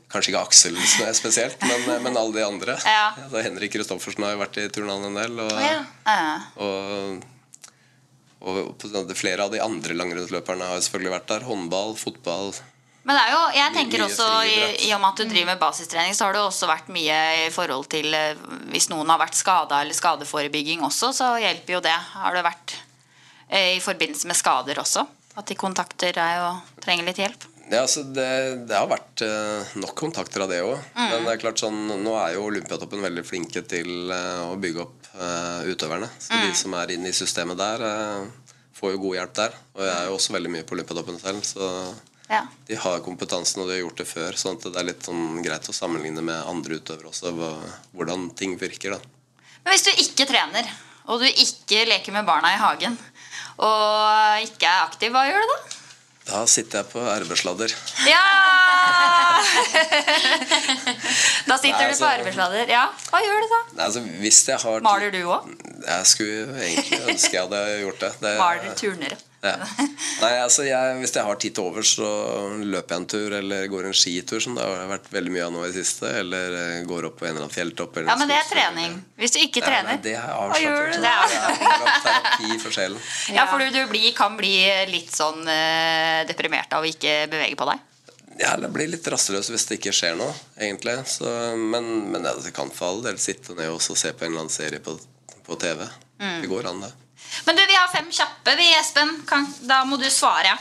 D: kanskje ikke Aksel som er spesielt, men, eh, men alle de andre.
B: Ja.
D: Altså, Henrik Kristoffersen har jo vært i turnene en del. Og,
B: Eh,
D: og, og, Og på en måte flere av de andre langrennsløperne har selvfølgelig vært der. Håndball, fotball.
B: Men det er jo, jeg tenker
D: Mye
B: også, i,
D: friidrett.
B: i og med at du driver med basistrening, så har det jo også vært mye i forhold til eh, hvis noen har vært skada eller skadeforebygging også, så hjelper jo det. Har det vært eh, i forbindelse med skader også? At de kontakter deg og trenger litt hjelp?
D: Ja, altså det, det har vært eh, nok kontakter av det òg.
B: Mm.
D: Men det er klart sånn, nå er jo Olympiatoppen veldig flinke til eh, å bygge opp eh, utøverne. Så
B: Mm.
D: de som er inne i systemet der, eh, får jo god hjelp der. Og jeg er jo også veldig mye på Olympiatoppen selv, så
B: Ja.
D: de har kompetansen og de har gjort det før. sånn at det er litt sånn greit å sammenligne med andre utøvere også, hva- hvordan ting virker. da.
B: Men hvis du ikke trener, og du ikke leker med barna i hagen, og ikke er aktiv, hva gjør du da?
D: Da sitter jeg på arbeidssladder.
B: Ja! da sitter du på
D: Nei, altså-
B: arbeidslader. Ja, hva gjør du da?
D: Nei, altså, hvis jeg har
B: Maler du òg?
D: Jeg skulle egentlig ønske jeg hadde gjort det. det
B: Maler turnere?
D: Eh, Ja. Nei, altså jeg, Hvis jeg har tid til overs, så løper jeg en tur eller går en skitur, som det har vært veldig mye av nå i det siste. Eller eh, går opp på en eller annen fjelltopp. Eller
B: Ja, men det er
D: skogtur, eller-
B: trening. Hvis du ikke
D: Ja,
B: trener,
D: nei, det er
B: hva gjør du
D: avslappet.
B: da?
D: Terapi for sjelen.
B: Ja, for du, du blir, kan bli litt sånn eh, deprimert av å ikke bevege på deg.
D: Ja, eller blir litt rastløs hvis det ikke skjer noe, egentlig. Så, men men det kan for all del sitte ned og så se på en eller annen serie på, på TV.
B: Mm.
D: Det går an, det.
B: Men du, vi har fem kjappe, vi, Espen. Kan, da må du svare.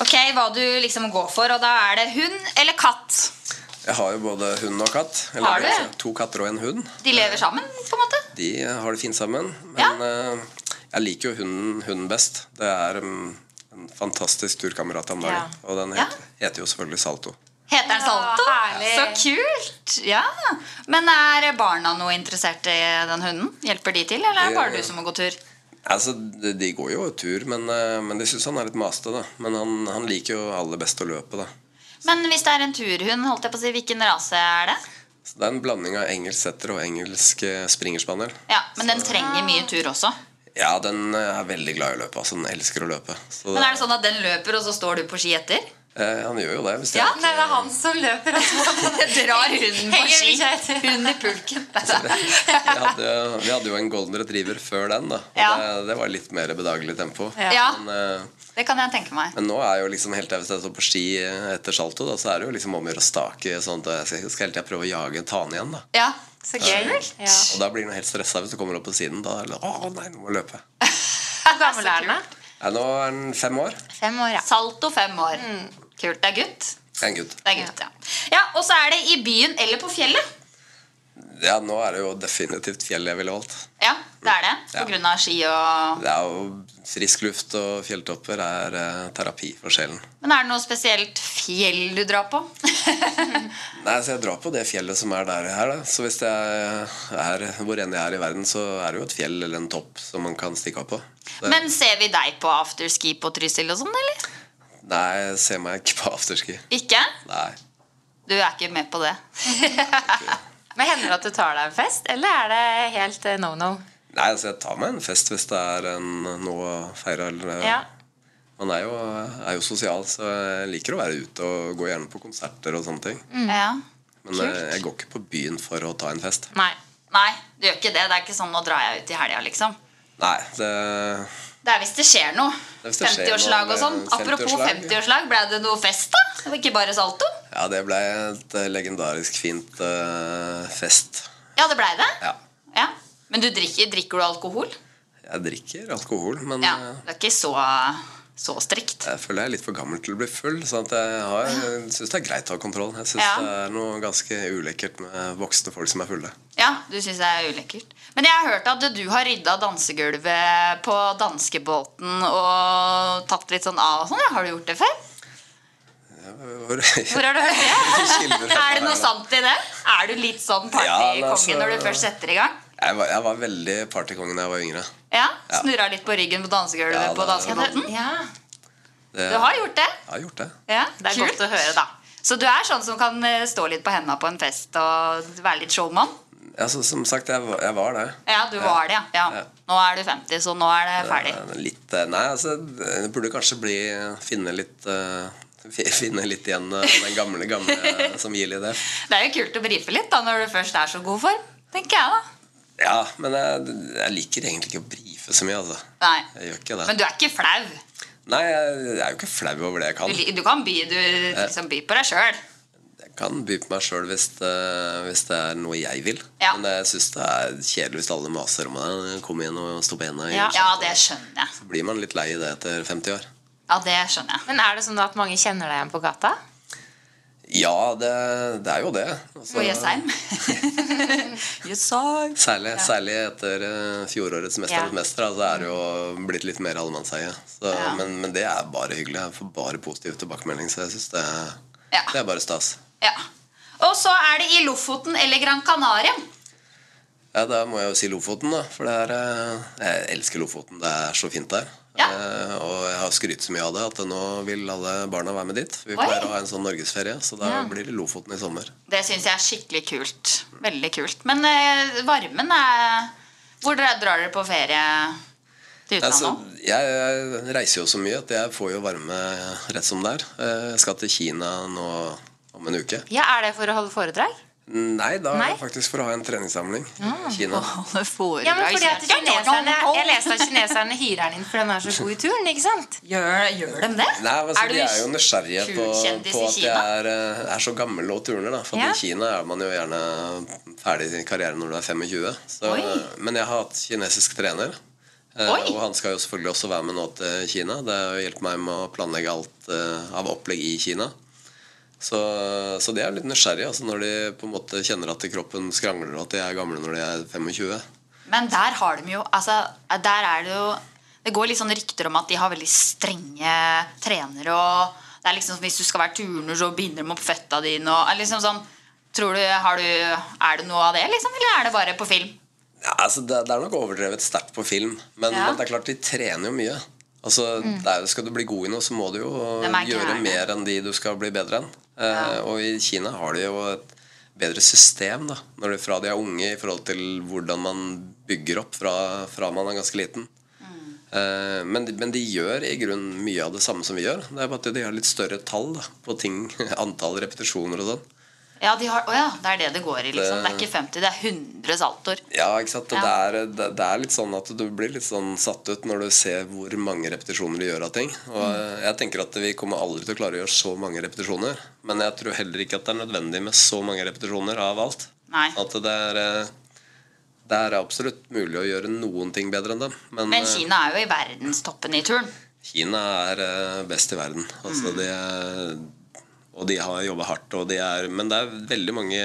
B: Ok, Hva du liksom går for, og da er det hund eller katt?
D: Jeg har jo både hund og katt.
B: Har du?
D: altså, To katter og en hund.
B: De lever sammen, på en måte.
D: De har det fint sammen. Men eh, jeg liker jo hunden, hunden best. Det er mm, en fantastisk turkamerat om dagen. Og den heter, heter jo selvfølgelig Salto.
B: Heter den Salto? Så kult! Ja. Men er barna noe interessert i den hunden? Hjelper de til, eller er det
D: Ja,
B: bare
D: ja.
B: du som må gå tur?
D: Altså, de, de går jo tur, men, eh, men de syns han er litt masete. da. Men han, han liker jo aller best å løpe. da.
B: Men hvis det er en turhund, holdt jeg på å si, hvilken rase er det?
D: Så Det er en blanding av engelsk setter og engelsk eh, springerspaniel.
B: Ja, Men den trenger mye tur også.
D: Ja, den eh, er veldig glad i å løpe. altså Den elsker å løpe. Så
B: Men er det sånn at den løper, og så står du på ski etter?
D: eh, han gjør jo det. hvis det
B: Ja,
D: er-
B: det er han som løper altså. og drar hunden på ski. Hunden i pulken.
D: Vi hadde, jo- vi hadde jo en golden retriever før den, da. Og
B: Ja.
D: det, det var litt mer bedagelig tempo.
B: Ja.
D: Men, eh,
B: Det kan jeg tenke meg.
D: men nå er jo liksom helt til hvis jeg står på ski eh, etter salto, da, så er det jo liksom om å gjøre å stake sånn at jeg skal, skal hele tiden prøve å jage ta den igjen, da.
B: Ja, så
D: Og da blir han helt stressa hvis du kommer opp på siden. Da er det Å nei, nå må jeg løpe.
B: Hvor gammel er den?
D: Nei, nå er han fem år.
B: Fem år, ja. Salto fem år. Kult. Det er gutt.
D: En gutt.
B: Det er gutt, ja. ja. Og så er det i byen eller på fjellet.
D: Ja, nå er det jo definitivt fjell jeg ville valgt.
B: Ja, det er det.
D: Ja.
B: På grunn av ski og
D: Det er jo frisk luft og fjelltopper er eh, terapi for sjelen.
B: Men er det noe spesielt fjell du drar på?
D: Nei, så Jeg drar på det fjellet som er der her. Da. Så hvis jeg er hvor enn jeg er i verden, så er det jo et fjell eller en topp som man kan stikke av på. Det,
B: Men ser vi deg på afterski på Trysil og sånn, eller?
D: Nei, jeg ser meg ikke på afterski.
B: Ikke?
D: Nei.
B: Du er ikke med på det.
C: Men Hender det at du tar deg en fest, eller er det helt eh, no no?
D: Nei, altså Jeg tar meg en fest hvis det er en noe å feire. Eller, eh,
C: Ja.
D: Man er jo, er jo sosial, så jeg liker å være ute og gå gjerne på konserter og sånne ting.
B: Ja.
D: Men
B: Mm. Kult.
D: eh, jeg går ikke på byen for å ta en fest.
B: Nei. Nei, du gjør ikke det. Det er ikke sånn nå drar jeg ut i helga, liksom.
D: Nei, det,
B: Det er hvis det skjer noe.
D: Det er hvis det skjer
B: 50-årslag
D: noe,
B: og sånn.
D: eh,
B: Apropos
D: 50-årslag,
B: 50-årslag, ble det noe fest, da? Det var Ikke bare salto?
D: ja, det ble et eh, legendarisk fint eh, fest.
B: Ja, det blei det.
D: Ja.
B: Ja. Men du drikker, drikker du alkohol?
D: Jeg drikker alkohol, men
B: Ja.
D: eh,
B: Det er ikke så, så strikt.
D: Jeg føler jeg er litt for gammel til å bli full. Så at jeg, har- jeg syns det er greit å ha kontroll. Jeg syns
B: Ja.
D: det er noe ganske ulekkert med voksne folk som er fulle.
B: Ja, du syns det er ulekkert. Men jeg har hørt at du har rydda dansegulvet på danskebåten og tatt litt sånn av og sånn. Ja, Har du gjort det før?
D: Hvor,
B: Hvor har du hørt
D: Kilder
B: det?
D: fra
B: er det noe
D: verden.
B: sant i det? Er du litt sånn partykonge
D: Ja, altså-
B: når du først setter i gang?
D: Jeg var, jeg var veldig partykonge da jeg var yngre.
B: Ja,
D: Ja.
B: Snurra litt på ryggen på dansegulvet
D: Ja,
B: på
D: det-
B: danskebåten? Ja.
D: Det-
B: Du har gjort det?
D: Jeg har gjort det.
B: Ja, det er godt å høre, da. Så du er sånn som kan eh, stå litt på henda på en fest og være litt showman?
D: Altså, som sagt, jeg, var- jeg var det.
B: Ja, du var det, ja. ja. Nå er du 50, så nå er det ferdig.
D: Eh, Litt, eh, nei, altså, jeg burde kanskje bli, finne litt eh, Finne litt igjen eh, den gamle, gamle som gir litt det.
B: Det er jo kult å brife litt da når du først er så god form, tenker jeg da.
D: Ja, men jeg, jeg liker egentlig ikke å brife så mye, altså.
B: Nei.
D: Jeg gjør ikke det.
B: Men du er ikke flau.
D: Nei, jeg, jeg er jo ikke flau over det jeg
B: Du,
D: kan.
B: li- du kan by, du, liksom, by på deg sjøl.
D: Jeg kan by på meg sjøl hvis, det- hvis det er noe jeg vil.
B: Ja.
D: Men jeg syns det er kjedelig hvis alle maser om det. Kom igjen og stå på henda.
B: Ja. ja, det skjønner jeg.
D: Blir man litt lei i det etter 50 år?
B: Ja, det skjønner jeg.
C: Men er det sånn at mange kjenner deg igjen på gata?
D: Ja, det, det er jo det. Altså,
B: Og Jessheim. Jessheim.
D: Særlig, særlig etter eh, fjorårets 'Mesternes
B: Ja.
D: mester'. Altså, er det jo blitt litt mer allemannseie. Så, men, men det er bare hyggelig. Jeg får bare positiv tilbakemelding, så jeg syns det,
B: Ja.
D: det er bare stas.
B: Ja. Og så er det i Lofoten eller Gran Canaria.
D: Ja, Da må jeg jo si Lofoten, da. For det er, eh, jeg elsker Lofoten. Det er så fint der. Eh, og jeg har skrytt så mye av det at nå vil alle barna være med dit. Vi
B: Oi.
D: pleier å ha en sånn norgesferie, så da
B: Ja.
D: blir det Lofoten i sommer.
B: Det syns jeg er skikkelig kult. Veldig kult. Men eh, varmen er Hvor dra- drar dere på ferie til utlandet?
D: Altså,
B: nå?
D: jeg, jeg reiser jo så mye at jeg får jo varme rett som det er. Eh, Jeg skal til Kina nå om en uke.
C: Ja, Er det for å holde foredrag?
D: Nei, da er
C: Nei?
D: det faktisk for å ha en treningssamling
B: Ah.
D: i Kina.
C: Ja, men fordi at kineserne, Jeg leste at kineserne hyrer den inn for den er så god i turen. ikke sant?
B: Gjør, gjør de det?
D: Nei, men altså,
B: Er du
D: De er jo nysgjerrige på,
B: kulkjendis
D: på
B: i
D: at
B: Kina?
D: jeg er, eh, er så gammel og turner. Da. For at
B: Ja.
D: I Kina er man jo gjerne ferdig i karrieren når du er 25. Så, eh,
B: Oi.
D: men jeg har hatt kinesisk trener. eh,
B: Oi.
D: Og han skal jo selvfølgelig også være med nå til Kina. Det har jo hjulpet meg med å planlegge alt eh, av opplegg i Kina. Så, så de er litt nysgjerrige altså når de på en måte kjenner at kroppen skrangler og at de er gamle når de er 25.
B: Men der har de jo altså, Der er det jo Det går litt sånn rykter om at de har veldig strenge trenere og det er liksom Hvis du skal være turner, så binder de opp føtta dine og er liksom sånn Tror du, har du, Er det noe av det, liksom? Eller er det bare på film?
D: Ja, altså det, det er nok overdrevet sterkt på film, men,
B: Ja.
D: men det er klart de trener jo mye. Altså,
B: Mm.
D: det er jo- Skal du bli god i noe, så må du jo
B: De er
D: gjøre
B: gærne.
D: mer enn de du skal bli bedre enn. Eh, og i Kina har de jo et bedre system da, når de, fra de er unge, i forhold til hvordan man bygger opp fra, fra man er ganske liten.
B: Mm.
D: Eh, men, de- men de gjør i grunnen mye av det samme som vi gjør. Det er bare at de har litt større tall da, på ting. Antall repetisjoner og sånn.
B: Ja, de har, å ja, det er det det går i, liksom. Det er
D: Det-
B: ikke 50, det er 100 saltoer.
D: Ja, ikke sant? Og
B: Ja.
D: Det, er, det, det er litt sånn at du blir litt sånn satt ut når du ser hvor mange repetisjoner du gjør av ting. Og
B: Mm.
D: eh, jeg tenker at vi kommer aldri til å klare å gjøre så mange repetisjoner. Men jeg tror heller ikke at det er nødvendig med så mange repetisjoner av alt.
B: Nei.
D: At det er, eh, det er absolutt mulig å gjøre noen ting bedre enn dem. Men,
B: Men
D: eh,
B: Kina er jo i verdenstoppen i turn.
D: Kina er eh, best i verden. Altså, de er, og de har jobba hardt. Og de er, men det er veldig mange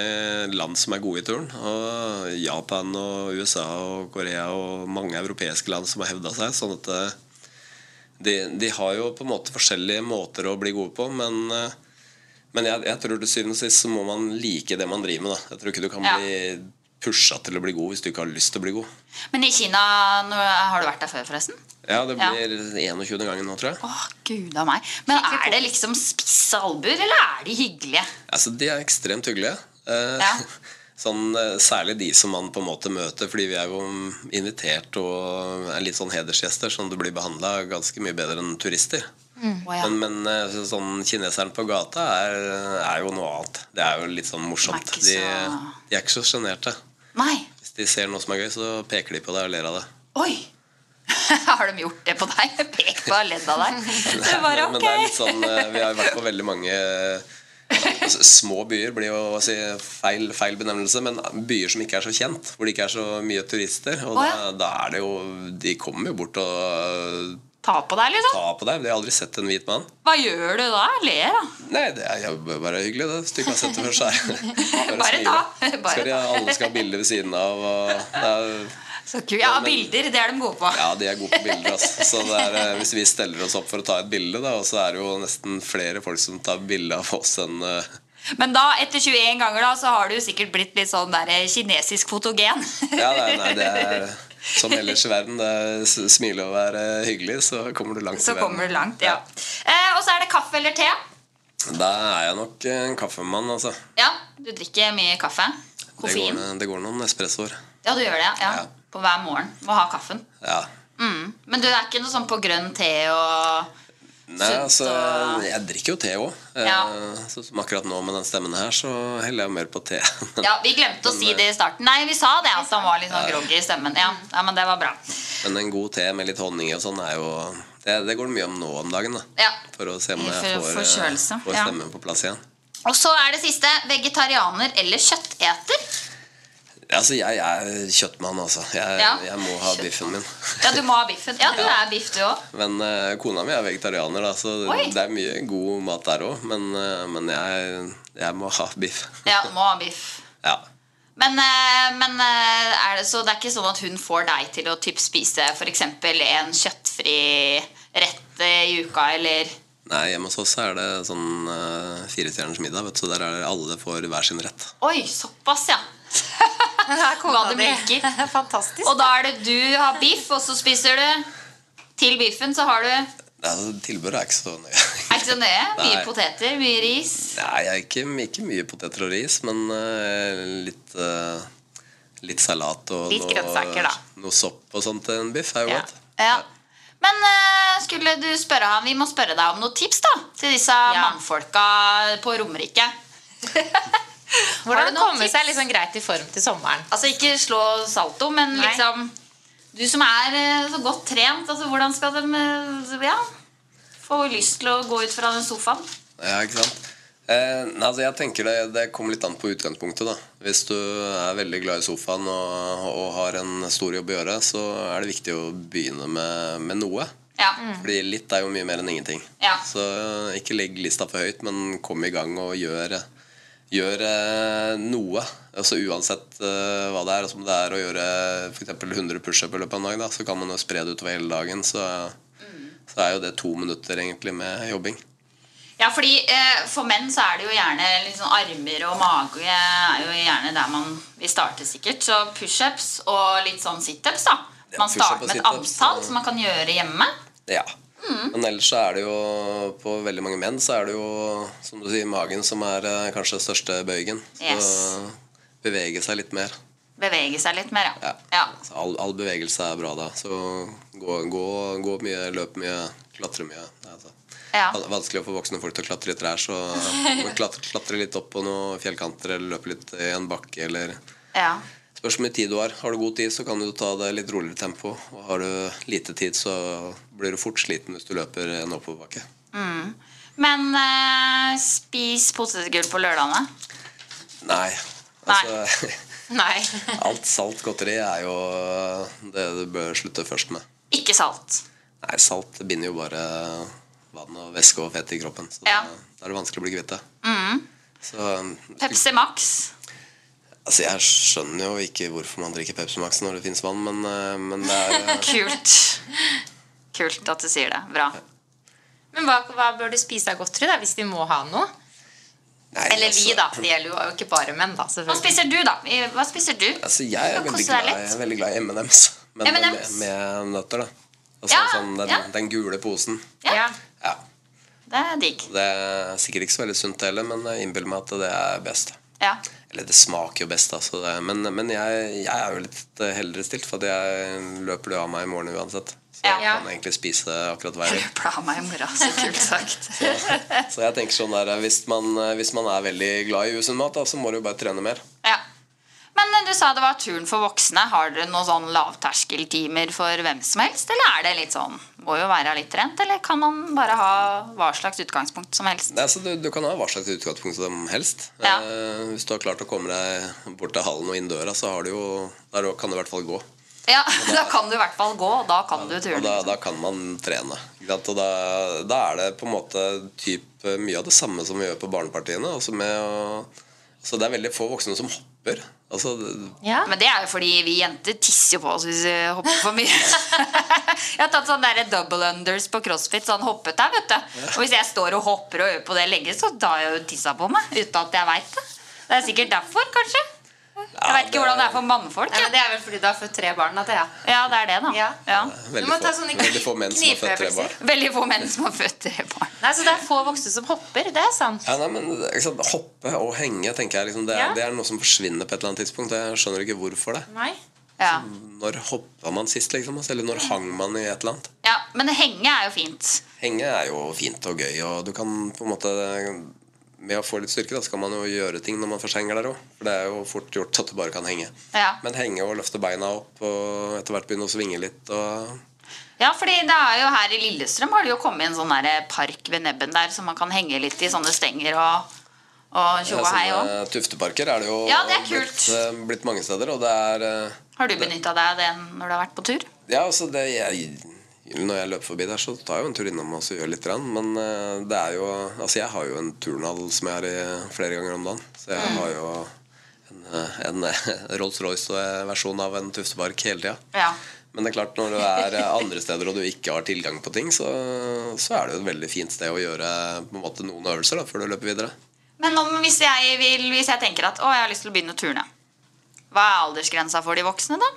D: land som er gode i turn. Og Japan og USA og Korea og mange europeiske land som har hevda seg. Sånn at eh, de, de har jo på en måte forskjellige måter å bli gode på, men eh, men jeg, jeg tror til syvende og sist så må man like det man driver med. Da. Jeg tror ikke du kan
B: Ja.
D: bli pusha til å bli god hvis du ikke har lyst til å bli god.
B: Men i Kina nå, Har du vært der før, forresten?
D: Ja, Det
B: Ja.
D: blir 21. gangen nå, tror jeg.
B: Å, gud a meg. Men er det liksom spisse albuer, eller er de hyggelige?
D: Altså, De er ekstremt hyggelige. Eh, sånn, eh, særlig de som man på en måte møter, fordi vi er jo invitert og er litt sånn hedersgjester, sånn du blir behandla ganske mye bedre enn turister.
B: Å, ja.
D: Men, men eh, så- sånn kineseren på gata er, er jo noe annet. Det er jo litt sånn morsomt.
B: De er ikke
D: De,
B: så-
D: de er ikke så sjenerte.
B: Nei.
D: Hvis de ser noe som er gøy, så peker de på deg og ler av det.
B: Oi! har de gjort det på deg? Pek på og ledd av deg. Det var
D: Men det er litt
B: ok.
D: sånn, eh, Vi har jo vært på veldig mange altså, Små byer blir jo å si, feil, feil benevnelse, men byer som ikke er så kjent, hvor det ikke er så mye turister.
B: Å,
D: Og da, da er det jo De kommer jo bort og eh,
B: Ta på deg, liksom.
D: tar på deg. De har aldri sett en hvit mann.
B: Hva gjør du da? Ler, da.
D: Nei, det er jo bare hyggelig, det. Hvis du ikke har sett det før, så er det
B: Bare
D: smile.
B: ta.
D: Skal
B: Bare
D: de,
B: ta.
D: alle skal ha bilder ved siden av. Og det er,
B: Så kult. Ja, bilder. Det er de gode på.
D: ja, de er gode på bilder. Altså. Så det er, eh, hvis vi steller oss opp for å ta et bilde, da, og så er det jo nesten flere folk som tar bilde av oss enn eh,
B: Men da, etter 21 ganger, da, så har du sikkert blitt litt sånn der eh, kinesisk fotogen.
D: Ja, nei, nei, det er som ellers i verden. Det er s- smile og være hyggelig, så kommer du langt
B: Så
D: i verden.
B: kommer du langt, ja. Eh, og så er det kaffe eller te.
D: Da er jeg nok en kaffemann, altså.
B: Ja, du drikker mye kaffe.
D: Det går,
B: Koffein.
D: det går noen espressoer.
B: Ja, du gjør det, ja. På hver morgen. Må ha kaffen.
D: Ja.
B: Mm. Men du er ikke noe sånn på grønn te og
D: Nei,
B: Sunt
D: altså,
B: og-
D: jeg drikker jo te òg.
B: Ja.
D: Som akkurat nå med den stemmen her, så heller jeg mer på te. Men,
B: Ja, Vi glemte å si det i starten. Nei, vi sa det at han var litt sånn groggy i stemmen. Ja, ja, men det var bra.
D: men en god te med litt honning i og sånn er jo det, det går det mye om nå om dagen. da
B: Ja.
D: For å se om jeg
B: For-
D: får, eh,
B: forkjølelse,
D: får
B: ja.
D: stemmen på plass igjen.
B: Og så er det siste vegetarianer eller kjøtteter.
D: Altså, jeg er kjøttmann, altså. Jeg,
B: Ja.
D: jeg må ha biffen min.
B: Ja, du må ha biffen. Ja, du er biff, du òg.
D: Men eh, kona mi er vegetarianer, da, så
B: Oi.
D: det er mye god mat der òg. Men, eh, men jeg, jeg må ha biff.
B: Ja, må ha biff.
D: Ja.
B: Men, eh, men eh, er det, så det er ikke sånn at hun får deg til å typ spise f.eks. en kjøttfri rett eh, i uka, eller
D: Nei, hjemme hos oss er det sånn uh, firestjerners middag, vet du, så der er det alle får hver sin rett.
B: Oi, såpass, ja. Hva det blinker.
C: Fantastisk.
B: Og da er det du har biff, og så spiser du. Til biffen så har du Er
D: Altså, Tilbudet er ikke så nøye.
B: ikke så nøye. Mye
D: Nei.
B: poteter, mye ris.
D: Nei, jeg er ikke, ikke mye poteter og ris, men eh, litt, eh, litt salat og
B: Litt grønnsaker, da.
D: noe sopp og sånt til en biff er jo
B: Ja.
D: godt.
B: Ja. Men eh, skulle du spørre han Vi må spørre deg om noen tips da til disse mannfolka på Romerike. Har du
C: Hvordan
B: noen
C: komme
B: tips?
C: seg liksom greit i form til sommeren?
B: Altså ikke slå salto, men
C: Nei.
B: liksom Du som er eh, så godt trent, altså hvordan skal de eh, ja, få lyst til å gå ut fra den sofaen?
D: Ja, ikke sant? Eh, nei, altså jeg tenker det, det kommer litt an på utgangspunktet. da Hvis du er veldig glad i sofaen og, og har en stor jobb å gjøre, så er det viktig å begynne med, med noe.
B: Ja.
D: Fordi litt er jo mye mer enn ingenting.
B: Mm. Ja.
D: Så eh, ikke legg lista for høyt, men kom i gang og gjør, gjør eh, noe. Altså Uansett eh, hva det er, altså om det er å gjøre for eksempel 100 pushup i løpet av en dag, da, så kan man jo spre det utover hele dagen. Så, så er jo det to minutter egentlig med jobbing.
B: Ja, fordi eh, For menn så er det jo gjerne liksom armer og mage er jo gjerne der man vil starte, sikkert. Så pushups og litt sånn situps. da.
D: Ja,
B: Man starter
D: push-up og
B: med et
D: situps,
B: antall
D: ja.
B: som man kan gjøre hjemme.
D: Ja. Men ellers så er det jo På veldig mange menn så er det jo, som du sier, magen som er eh, kanskje den største bøygen. Så
B: Yes.
D: bevege seg litt mer.
B: Bevege seg litt mer, ja.
D: Ja. Så all, all bevegelse er bra da. Så gå, gå, gå mye, løp mye, klatre mye. Nei, Altså.
B: Ja.
D: Van- Vanskelig å få voksne folk til å klatre i trær, så må du klatre, klatre litt opp på noen fjellkanter eller løpe litt i en bakke eller
B: ja.
D: Spørs hvor mye tid du har. Har du god tid, så kan du ta det litt roligere tempo. Og har du lite tid, så blir du fort sliten hvis du løper en oppoverbakke.
B: Men eh, spis potetgull på lørdagene.
D: Nei.
B: Nei.
D: Altså,
C: Nei.
D: alt salt godteri er jo det du bør slutte først med.
B: Ikke salt.
D: Nei, salt binder jo bare vann og væske og fett i kroppen. Så
B: Ja. Mm.
D: da, da er det vanskelig å bli kvitt det. Så
B: Pepsi Max.
D: altså, jeg skjønner jo ikke hvorfor man drikker Pepsi Max når det fins vann, men, eh, men det er
B: Kult. Kult at du sier det. Bra.
C: Men hva, hva bør de spise av godteri da, hvis de må ha noe?
D: Nei,
C: Eller vi,
D: altså-
C: da. Det gjelder jo ikke bare menn, da.
B: Hva
C: selvfølgelig.
B: spiser du, da? I- Hva spiser du?
D: Altså, jeg er
B: Kan
D: veldig
B: koste deg
D: glad, jeg er veldig glad i M&M's. Men med,
B: M&M's.
D: med nøtter, da. Altså,
B: Ja,
D: sånn, den,
B: ja.
D: den gule posen.
C: Ja.
D: Ja.
B: Det er digg.
D: Det er sikkert ikke så veldig sunt heller, men jeg innbiller meg at det er best.
B: Ja.
D: Eller det smaker jo best, altså. Det. Men, men jeg, jeg er jo litt heldigere stilt, for at jeg løper det av meg i morgen uansett. Så jeg
B: Ja.
D: kan egentlig spise akkurat hva jeg vil.
B: Løpla av meg i morgen. Så kult sagt.
D: Så jeg tenker sånn der, hvis man, hvis man er veldig glad i usunn mat, da, så må du jo bare trene mer.
B: Ja. Men eh, du sa det var turen for voksne. Har dere noen sånn lavterskeltimer for hvem som helst? Eller er det litt sånn Må jo være litt trent, eller kan man bare ha hva slags utgangspunkt som helst?
D: Nei, så du, du kan ha hva slags utgangspunkt som helst.
B: Ja.
D: Eh, hvis du har klart å komme deg bort til hallen og inn døra, så har du jo, der kan du i hvert fall gå.
B: Ja, da kan du i hvert fall gå, og da kan
C: Mm.
B: du
D: Og
B: turen.
D: da,
B: liksom.
D: da kan man trene. Ikke sant? Og da, da er det på en måte typ, eh, mye av det samme som vi gjør på barnepartiene. Altså med å, så det er veldig få voksne som hopper. Altså,
C: Ja.
B: Men det er jo fordi vi jenter tisser jo på oss hvis vi hopper for mye. jeg har tatt sånne der double unders på crossfit, sånn hoppet der, vet du. Og hvis jeg står og hopper og øver på det lenge, så tar jeg jo tissa på meg uten at jeg veit det. Det er sikkert derfor, kanskje. Jeg veit ikke hvordan det er for mannfolk.
C: Nei, men
B: jeg.
C: det er vel fordi du har fått tre barn, da, Thea.
B: Ja, det er det, da.
C: Ja. Du
D: veldig,
C: må ta
D: få,
C: sånne
D: veldig få menn som har født tre
C: knivøvelser.
D: barn.
B: Veldig få menn som har født tre barn.
C: Nei, Så det er få voksne som hopper. Det er sant.
D: Ja, nei, men, ikke sant? Hoppe og henge tenker jeg, liksom, det, er,
C: Ja.
D: det er noe som forsvinner på et eller annet tidspunkt. og Jeg skjønner ikke hvorfor det.
C: Nei.
B: Ja.
D: Når hoppa man sist, liksom? Altså, eller når hang man i et eller annet?
B: ja, Men henge er jo fint.
D: henge er jo fint og gøy, og du kan på en måte Med å få litt styrke, da, så kan man jo gjøre ting når man først henger der òg. For det er jo fort gjort at du bare kan henge.
E: Ja.
D: Men henge og løfte beina opp, og etter hvert begynne å svinge litt og
B: Ja, fordi det er jo her i Lillestrøm har det jo kommet en sånn der park ved nebben der som man kan henge litt i sånne stenger og, og tjo og hei
D: sånne
B: òg.
D: Tufteparker er det jo
B: Ja, det er
D: blitt, eh, blitt mange steder, og det er eh,
B: Har du benytta deg av det når du har vært på tur?
D: Ja, altså det jeg, Når jeg løper forbi der, så tar jeg jo en tur innom og så gjør litt. grann, Men eh, det er jo Altså, jeg har jo en turnhall som jeg er i flere ganger om dagen. Så jeg
B: Mm.
D: har jo en, eh, en eh, Rolls-Royce-versjon av en tuftepark hele tida.
B: Ja.
D: Men det er klart, når du er eh, andre steder og du ikke har tilgang på ting, så, så er det jo et veldig fint sted å gjøre på en måte noen øvelser da, før du løper videre.
B: Men om, hvis, jeg vil, hvis jeg tenker at å, jeg har lyst til å begynne å turne, hva er aldersgrensa for de voksne da?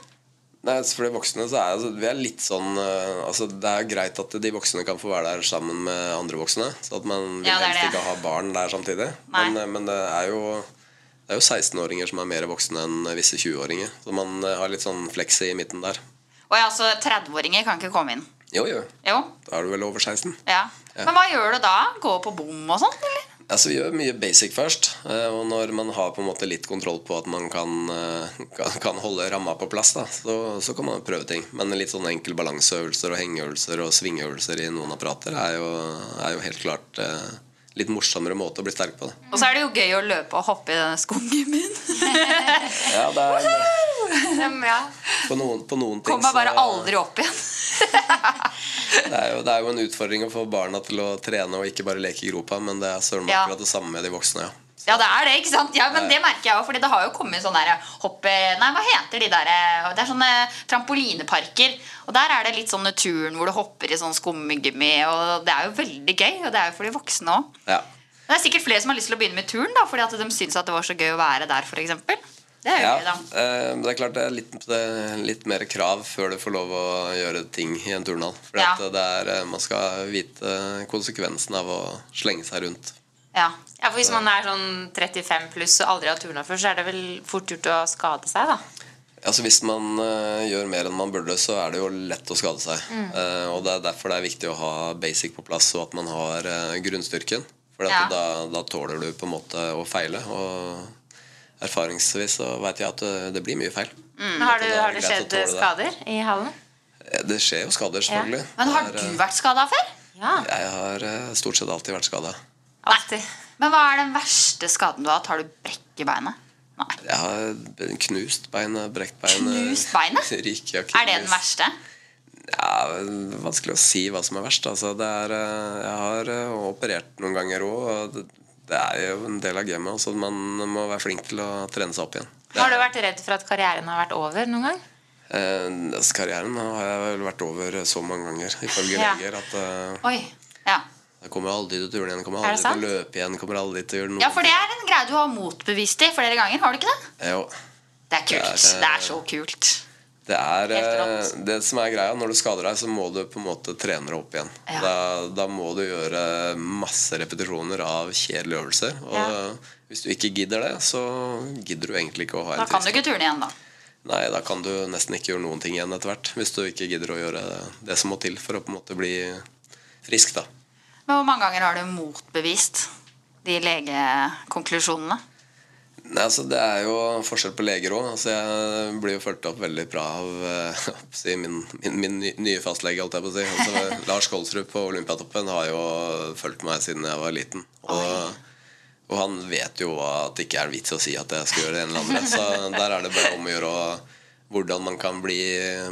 D: Nei, så For de voksne så er altså, vi er litt sånn eh, altså, Det er greit at de voksne kan få være der sammen med andre voksne. Så at man vil
B: Ja, det er
D: helst
B: det.
D: ikke ha barn der samtidig.
B: Nei.
D: Men, eh, men det er jo det er jo 16-åringer som er mer voksne enn visse 20-åringer. Så man eh, har litt sånn fleks i midten der.
B: Og ja, altså 30-åringer kan ikke komme inn.
D: Jo, jo.
B: Jo,
D: Da er du vel over 16.
B: ja.
D: Ja.
B: Men hva gjør du da? Gå på bom og sånn, eller?
D: Altså, vi gjør mye basic først. eh, Og når man har på en måte litt kontroll på at man kan, eh, kan, kan holde ramma på plass, da, så, så kan man prøve ting. Men litt sånn enkel balanseøvelser og hengeøvelser og svingeøvelser i noen apparater er jo, er jo helt klart eh, litt morsommere måte å bli sterk på. Da.
B: Og så er det jo gøy å løpe og hoppe i denne skogummien.
D: Ja, det er,
B: ja.
D: på, noen, på noen ting
B: Kom meg bare
D: så-
B: aldri opp igjen.
D: det er, jo, det er jo en utfordring å få barna til å trene og ikke bare leke i gropa, men det er søren meg
B: Ja.
D: akkurat det samme med de voksne. ja.
B: Ja, det er det, ikke sant? Ja, men
D: Nei.
B: det merker jeg òg, Fordi det har jo kommet sånne der hoppe... Nei, hva heter de der eh, Det er sånne trampolineparker. Og der er det litt sånne turn hvor du hopper i sånn skummegummi, og det er jo veldig gøy. Og det er jo for de voksne òg.
D: Ja.
B: Det er sikkert flere som har lyst til å begynne med turn, da, fordi at de syns at det var så gøy å være der, f.eks. Det er jo gøy, da.
D: eh, men det er klart det er litt, det er litt mer krav før du får lov å gjøre ting i en turnhall. For
B: Ja.
D: at det er, eh, man skal vite konsekvensen av å slenge seg rundt.
B: Ja.
C: Ja, for Hvis man er sånn 35 pluss og aldri har turna før, så er det vel fort gjort å skade seg, da.
D: Altså Hvis man eh, gjør mer enn man burde, så er det jo lett å skade seg.
C: Mm.
D: Eh, og Det er derfor det er viktig å ha basic på plass, og at man har eh, grunnstyrken. For
B: Ja.
D: da, da tåler du på en måte å feile. Og erfaringsvis så veit jeg at eh, det blir mye feil.
C: Mm. Men Har, du,
D: Mm, Det er
C: har det
D: greit å
C: skjedd
D: tåle det.
C: skader i hallen?
D: Eh, Det skjer jo skader, selvfølgelig.
C: Ja.
B: Men har
D: Det er,
B: du vært skada før?
C: Ja,
D: eh, Jeg har eh, stort sett alltid vært skada.
C: alltid.
B: Men hva er den verste skaden du har hatt? Har du brekk i beinet?
D: Jeg har knust beinet, brekt beinet.
B: Knust beinet?
D: Ryke,
B: Er det den verste?
D: Ja, vanskelig å si hva som er verst. Altså, det er, eh, jeg har eh, operert noen ganger òg, og det, det er jo en del av gamet. Altså, man må være flink til å trene seg opp igjen. Det
C: Har du
D: er-
C: vært redd for at karrieren har vært over noen gang?
D: Eh, altså, karrieren har jeg vel vært over så mange ganger, ifølge
C: Ja.
D: leger, at eh,
B: Oi. Ja.
D: jeg kommer aldri til turen igjen, kommer
C: Er det
D: aldri til
C: sant?
D: å løpe igjen, kommer aldri til å gjøre noe.
B: ja, for det er en greie du har motbevist i flere ganger, har du ikke det?
D: Eh, Jo.
B: Det er kult.
D: Det er, eh,
B: Det er så kult.
D: Det er eh,
B: Helt
D: det som er greia. Når du skader deg, så må du på en måte trene deg opp igjen.
B: Ja.
D: Da, da må du gjøre masse repetisjoner av kjedelige øvelser. Og
C: Ja.
D: hvis du ikke gidder det, så gidder du egentlig ikke å ha en
B: Da kan du
D: tilstand.
B: ikke turne igjen, da.
D: Nei, da kan du nesten ikke gjøre noen ting igjen etter hvert. Hvis du ikke gidder å gjøre det som må til for å på en måte bli frisk, da.
B: Men hvor mange ganger har du motbevist de legekonklusjonene?
D: Nei, altså Det er jo forskjell på leger òg. Altså, jeg blir jo fulgt opp veldig bra av eh, hva skal jeg si, min, min, min ny- nye fastlege. Holdt jeg på å si. altså, Lars Kolsrud på Olympiatoppen har jo fulgt meg siden jeg var liten. Og, og han vet jo at det ikke er vits å si at jeg skal gjøre det ene eller andre. Så der er det bare om å gjøre å- hvordan man kan bli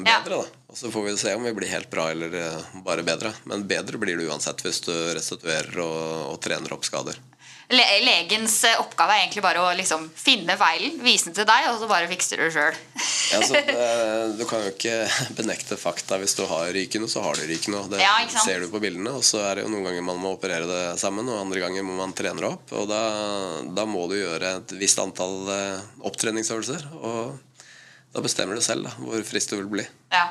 D: bedre. da. Og Så får vi se om vi blir helt bra eller eh, bare bedre. Men bedre blir du uansett hvis du restituerer og, og trener opp skader.
B: Le legens eh, oppgave er egentlig bare å liksom finne feilen, vise den til deg, og så bare fikser du det sjøl.
D: Ja, altså, det, du kan jo ikke benekte fakta. Hvis du har rykende, så har du rykende. og Det
B: Ja, ikke sant?
D: ser du på bildene. Og så er det jo noen ganger man må operere det sammen, og andre ganger må man trene det opp. Og da, da må du gjøre et visst antall eh, opptreningsøvelser. Og da bestemmer du selv da, hvor frisk du vil bli.
B: Ja.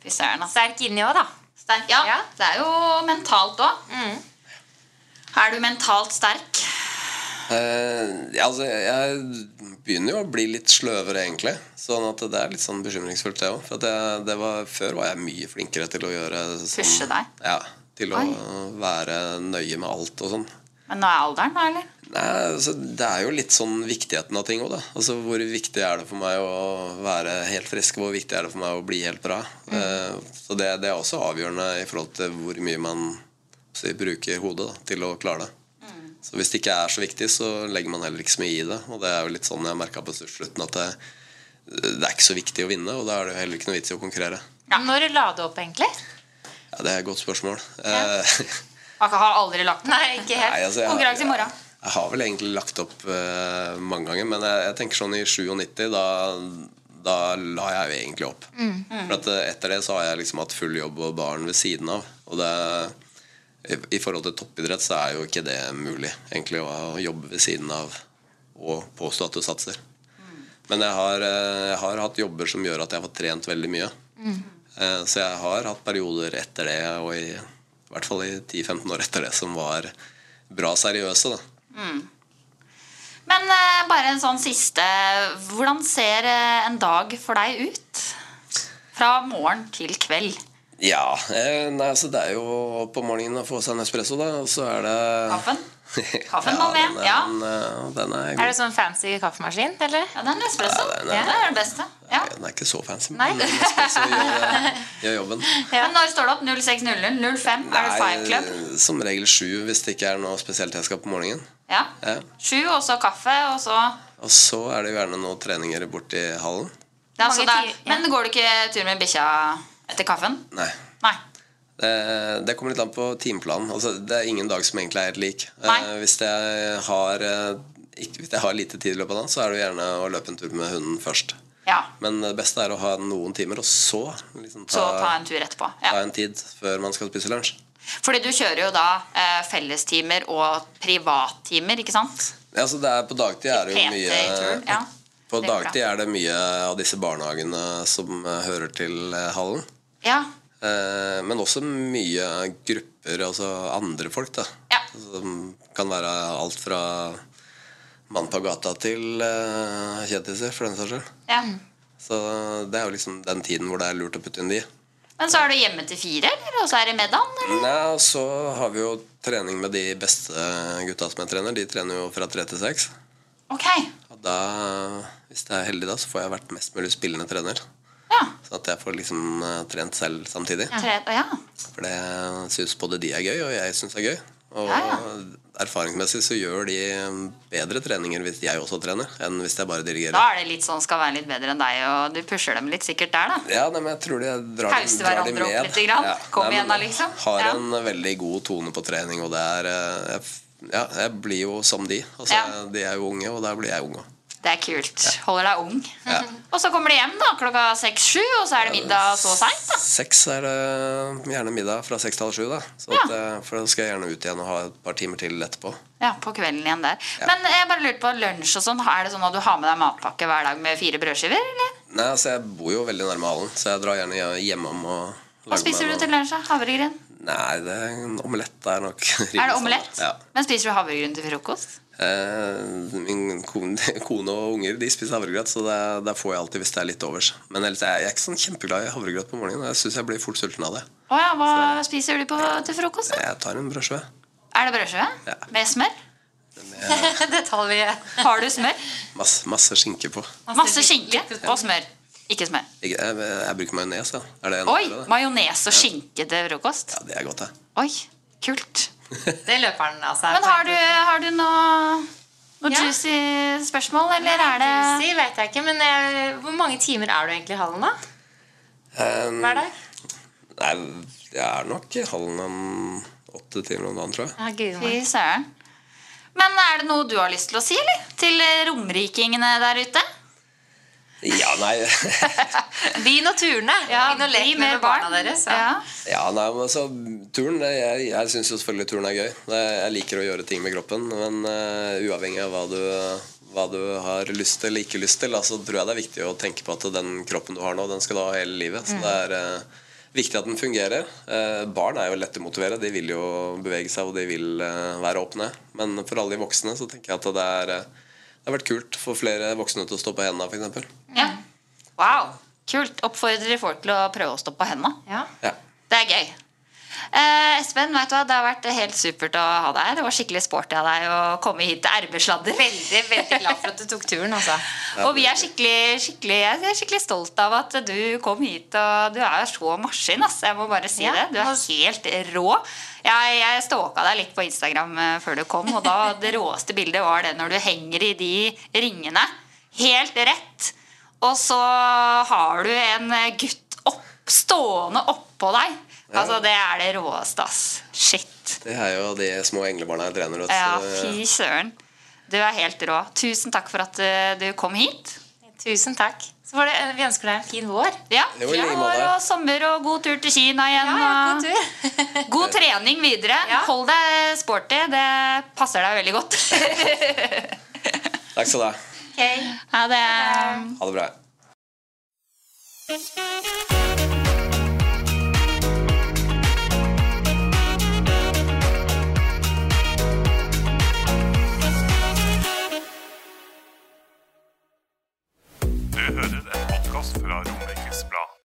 B: Fy søren, altså.
C: Sterk inni òg, da.
B: Sterk. Ja, Mm.
C: Ja.
B: det er jo mentalt òg. Er du mentalt sterk?
D: Eh, ja, altså, jeg begynner jo å bli litt sløvere, egentlig. Sånn at det er litt sånn bekymringsfullt, det òg. For at jeg, det var, før var jeg mye flinkere til å gjøre sånn,
B: Pushe deg?
D: Ja, til å være nøye med alt og sånn.
B: Men nå er alderen, da, eller?
D: Nei, altså, Det er jo litt sånn viktigheten av ting òg, da. Altså, hvor viktig er det for meg å være helt frisk? Hvor viktig er det for meg å bli helt bra? Eh, så det, det er også avgjørende i forhold til hvor mye man si, bruker hodet da, til å klare det. Så hvis det ikke er så viktig, så legger man heller ikke så mye i det. Og det er jo litt sånn jeg merka på slutten, at det, det er ikke så viktig å vinne, og da er det jo heller ikke noe vits i å konkurrere.
C: Når la du opp, egentlig?
D: Ja, Det er et godt spørsmål. Eh,
B: Jeg har aldri lagt den.
C: Nei, ikke helt.
D: Nei, altså, jeg-
B: Konkurranse i morgen.
D: Jeg har vel egentlig lagt opp eh, mange ganger, men jeg, jeg tenker sånn i 97, da, da la jeg jo egentlig opp. For at eh, etter det så har jeg liksom hatt full jobb og barn ved siden av. Og det, i, i forhold til toppidrett så er jo ikke det mulig, egentlig, å jobbe ved siden av og påstå at du satser. Men jeg har, eh, jeg har hatt jobber som gjør at jeg har trent veldig mye. Eh, Så jeg har hatt perioder etter det, og i, i hvert fall i 10-15 år etter det, som var bra seriøse. da.
B: Men eh, bare en sånn siste. Hvordan ser eh, en dag for deg ut? Fra morgen til kveld.
D: Ja, eh, nei, altså det er jo opp om morgenen å få seg en espresso, da, og så er det
B: Kaffen? Kaffen
D: ja,
B: må med,
D: den er-
B: ja.
D: Den, eh, den er
C: Er det
D: god.
C: sånn fancy kaffemaskin, eller?
B: Ja, det er en espresso.
D: Ja, det er det.
B: det, er det beste. Ja.
D: Den er ikke så fancy,
C: Nei.
D: men en espresso gjør, gjør jobben.
B: Men når står det opp? 06.00? 05? Er det Five Club?
D: Nei, som regel sju hvis det ikke er noe spesielt jeg skal på morgenen.
B: Ja.
D: Ja.
B: Sju, og så kaffe, og så
D: Og så er det jo gjerne noen treninger borti hallen.
B: det er,
C: Mange
B: så det er.
C: timer, ja.
B: Men går du ikke tur med bikkja etter kaffen?
D: Nei. Eh,
B: Nei.
D: Det, det kommer litt an på timeplanen. Altså, det er ingen dag som egentlig er helt lik.
B: Nei.
D: Eh, hvis, jeg har, eh, ikke, hvis jeg har lite tid i løpet av dagen, så er det jo gjerne å løpe en tur med hunden først.
B: Ja.
D: Men det beste er å ha noen timer, og så liksom, ta,
B: Så ta en tur etterpå. Ja.
D: ta en tid før man skal spise lunsj.
B: Fordi du kjører jo da eh, fellestimer og privattimer, ikke sant?
D: Ja, altså, det er, på dagtid er det jo mye
B: PT-tur. Ja.
D: På
B: det er bra.
D: dagtid er det mye av disse barnehagene som eh, hører til eh, hallen.
B: ja.
D: Eh, men også mye grupper, altså andre folk, da.
B: Ja.
D: Som kan være alt fra mann på gata til eh, kjendiser, for den saks skyld.
B: ja.
C: Mm.
D: Så det er jo liksom den tiden hvor det er lurt å putte inn de.
B: Men så er du hjemme til fire, eller? Og så er det middagen? Eller?
D: Nei, og så har vi jo trening med de beste gutta som jeg trener. De trener jo fra tre til seks.
B: Ok.
D: Og da, hvis jeg er heldig, da, så får jeg vært mest mulig spillende trener.
B: Ja.
D: Sånn at jeg får liksom eh, trent selv samtidig.
B: Tre, ja.
D: For det syns både de er gøy, og jeg syns det er gøy. Og
B: Ja, ja.
D: erfaringsmessig så gjør de eh, bedre treninger hvis jeg også trener, enn hvis jeg bare dirigerer.
B: Da er det litt sånn skal være litt bedre enn deg, og du pusher dem litt sikkert der, da.
D: Ja, nei, men jeg tror de drar,
B: Pause
D: de- drar de
B: hverandre
D: med.
B: opp lite grann. Kom
D: Nei,
B: igjen
D: men
B: da, liksom.
D: Har
B: Ja.
D: en veldig god tone på trening, og det er eh, jeg, f- Ja, jeg blir jo som de. Altså,
B: Ja.
D: De er jo unge, og der blir jeg ung òg.
B: Det er kult. Holder deg ung. Og så kommer de hjem da, klokka seks-sju, og så er det middag så seint. da.
D: Seks er det gjerne middag fra seks til halv sju, da. Så
B: Ja.
D: at, eh, for da skal jeg gjerne ut igjen og ha et par timer til etterpå.
B: Ja, på kvelden igjen der. Men jeg bare lurte på lunsj og sånn. Er det sånn at du har med deg matpakke hver dag med fire brødskiver, eller?
D: Nei, altså Jeg bor jo veldig nærme hallen, så jeg drar gjerne hjemom og lager
B: Hva spiser du
D: meg noe-
B: til lunsj? da? Havregryn?
D: Nei, det er en omelett er nok
B: Er det omelett?
D: Ja.
B: Men spiser du havregryn til frokost?
D: Eh, min kone, kone og unger de spiser havregrøt, så det, det får jeg alltid hvis det er litt overs. Men ellers er jeg jeg er ikke sånn kjempeglad i havregrøt på morgenen. Jeg syns jeg blir fort sulten av det.
B: Å ja, hva spiser du på, til frokost? da?
D: Jeg tar en brødskive.
B: Er det brødskive?
D: Ja.
B: Med smør?
C: Detalj.
B: Har du smør?
D: Masse, masse skinke på.
B: Masse skinke og smør. Ikke smør.
D: Jeg, jeg, jeg bruker majones, ja. Er det en
B: Oi!
D: det?
B: Majones og skinke til frokost.
D: Ja, det er godt, det.
B: Oi, kult.
C: Det løper altså. han av seg.
B: Men har du, har du noe, noe
C: Ja.
B: juicy spørsmål, eller er det
C: Juicy vet jeg ikke, men eh, hvor mange timer er du egentlig i hallen, da?
D: Um,
C: Hver dag?
D: nei, jeg er nok i hallen om åtte timer om dagen, tror jeg.
C: Ja, gud,
B: Fy
C: meg.
B: søren. Men er det noe du har lyst til å si, eller? Til eh, romrikingene der ute?
D: Ja, nei
C: Bli naturene. Begynn å leke med barna deres. Ja.
B: Ja.
D: Ja, nei, men altså, turen, det- Jeg, jeg syns jo selvfølgelig turen er gøy. Det- Jeg liker å gjøre ting med kroppen. Men eh, uavhengig av hva du, hva du har lyst til eller ikke lyst til, da, så tror jeg det er viktig å tenke på at den kroppen du har nå, den skal du ha hele
B: Mm.
D: livet. Så det er eh, viktig at den fungerer. Eh, barn er jo lette å motivere. De vil jo bevege seg, og de vil eh, være åpne. Men for alle de voksne så tenker jeg at det, er, eh, det har vært kult for flere voksne til å stå på hendene, f.eks.
B: ja. Wow. Kult. Oppfordrer folk til å prøve å stå på henda.
C: Ja.
D: Ja.
B: Det er gøy. Eh, Espen, vet du hva? det har vært helt supert å ha deg her. Det var skikkelig sporty av deg å komme hit til RB-sladder.
C: Veldig, veldig glad for at du tok turen, altså.
B: Og vi er skikkelig, skikkelig, jeg er skikkelig stolt av at du kom hit. Og du er så maskin, ass. Jeg må bare si
C: Ja,
B: det. Du er helt rå. Jeg, jeg stalka deg litt på Instagram eh, før du kom, og da det råeste bildet var det når du henger i de ringene. Helt rett. Og så har du en eh, gutt opp, stående oppå deg.
D: Ja.
B: Altså, det er det råeste, ass. Shit.
D: Det er jo de små englebarna jeg trener. vet du,
B: Ja,
D: så-
B: fy søren. Du er helt rå. Tusen takk for at eh, du kom hit.
C: Tusen takk. Så var det, vi ønsker deg en fin vår.
B: Ja.
D: Jo, i like
B: fin
D: måte.
B: vår og sommer og god tur til Kina igjen. og
C: god tur.
B: god trening videre. Hold deg sporty. Det passer deg veldig godt.
D: Takk skal du ha.
B: Ha det.
D: Ha det bra.
A: Hei.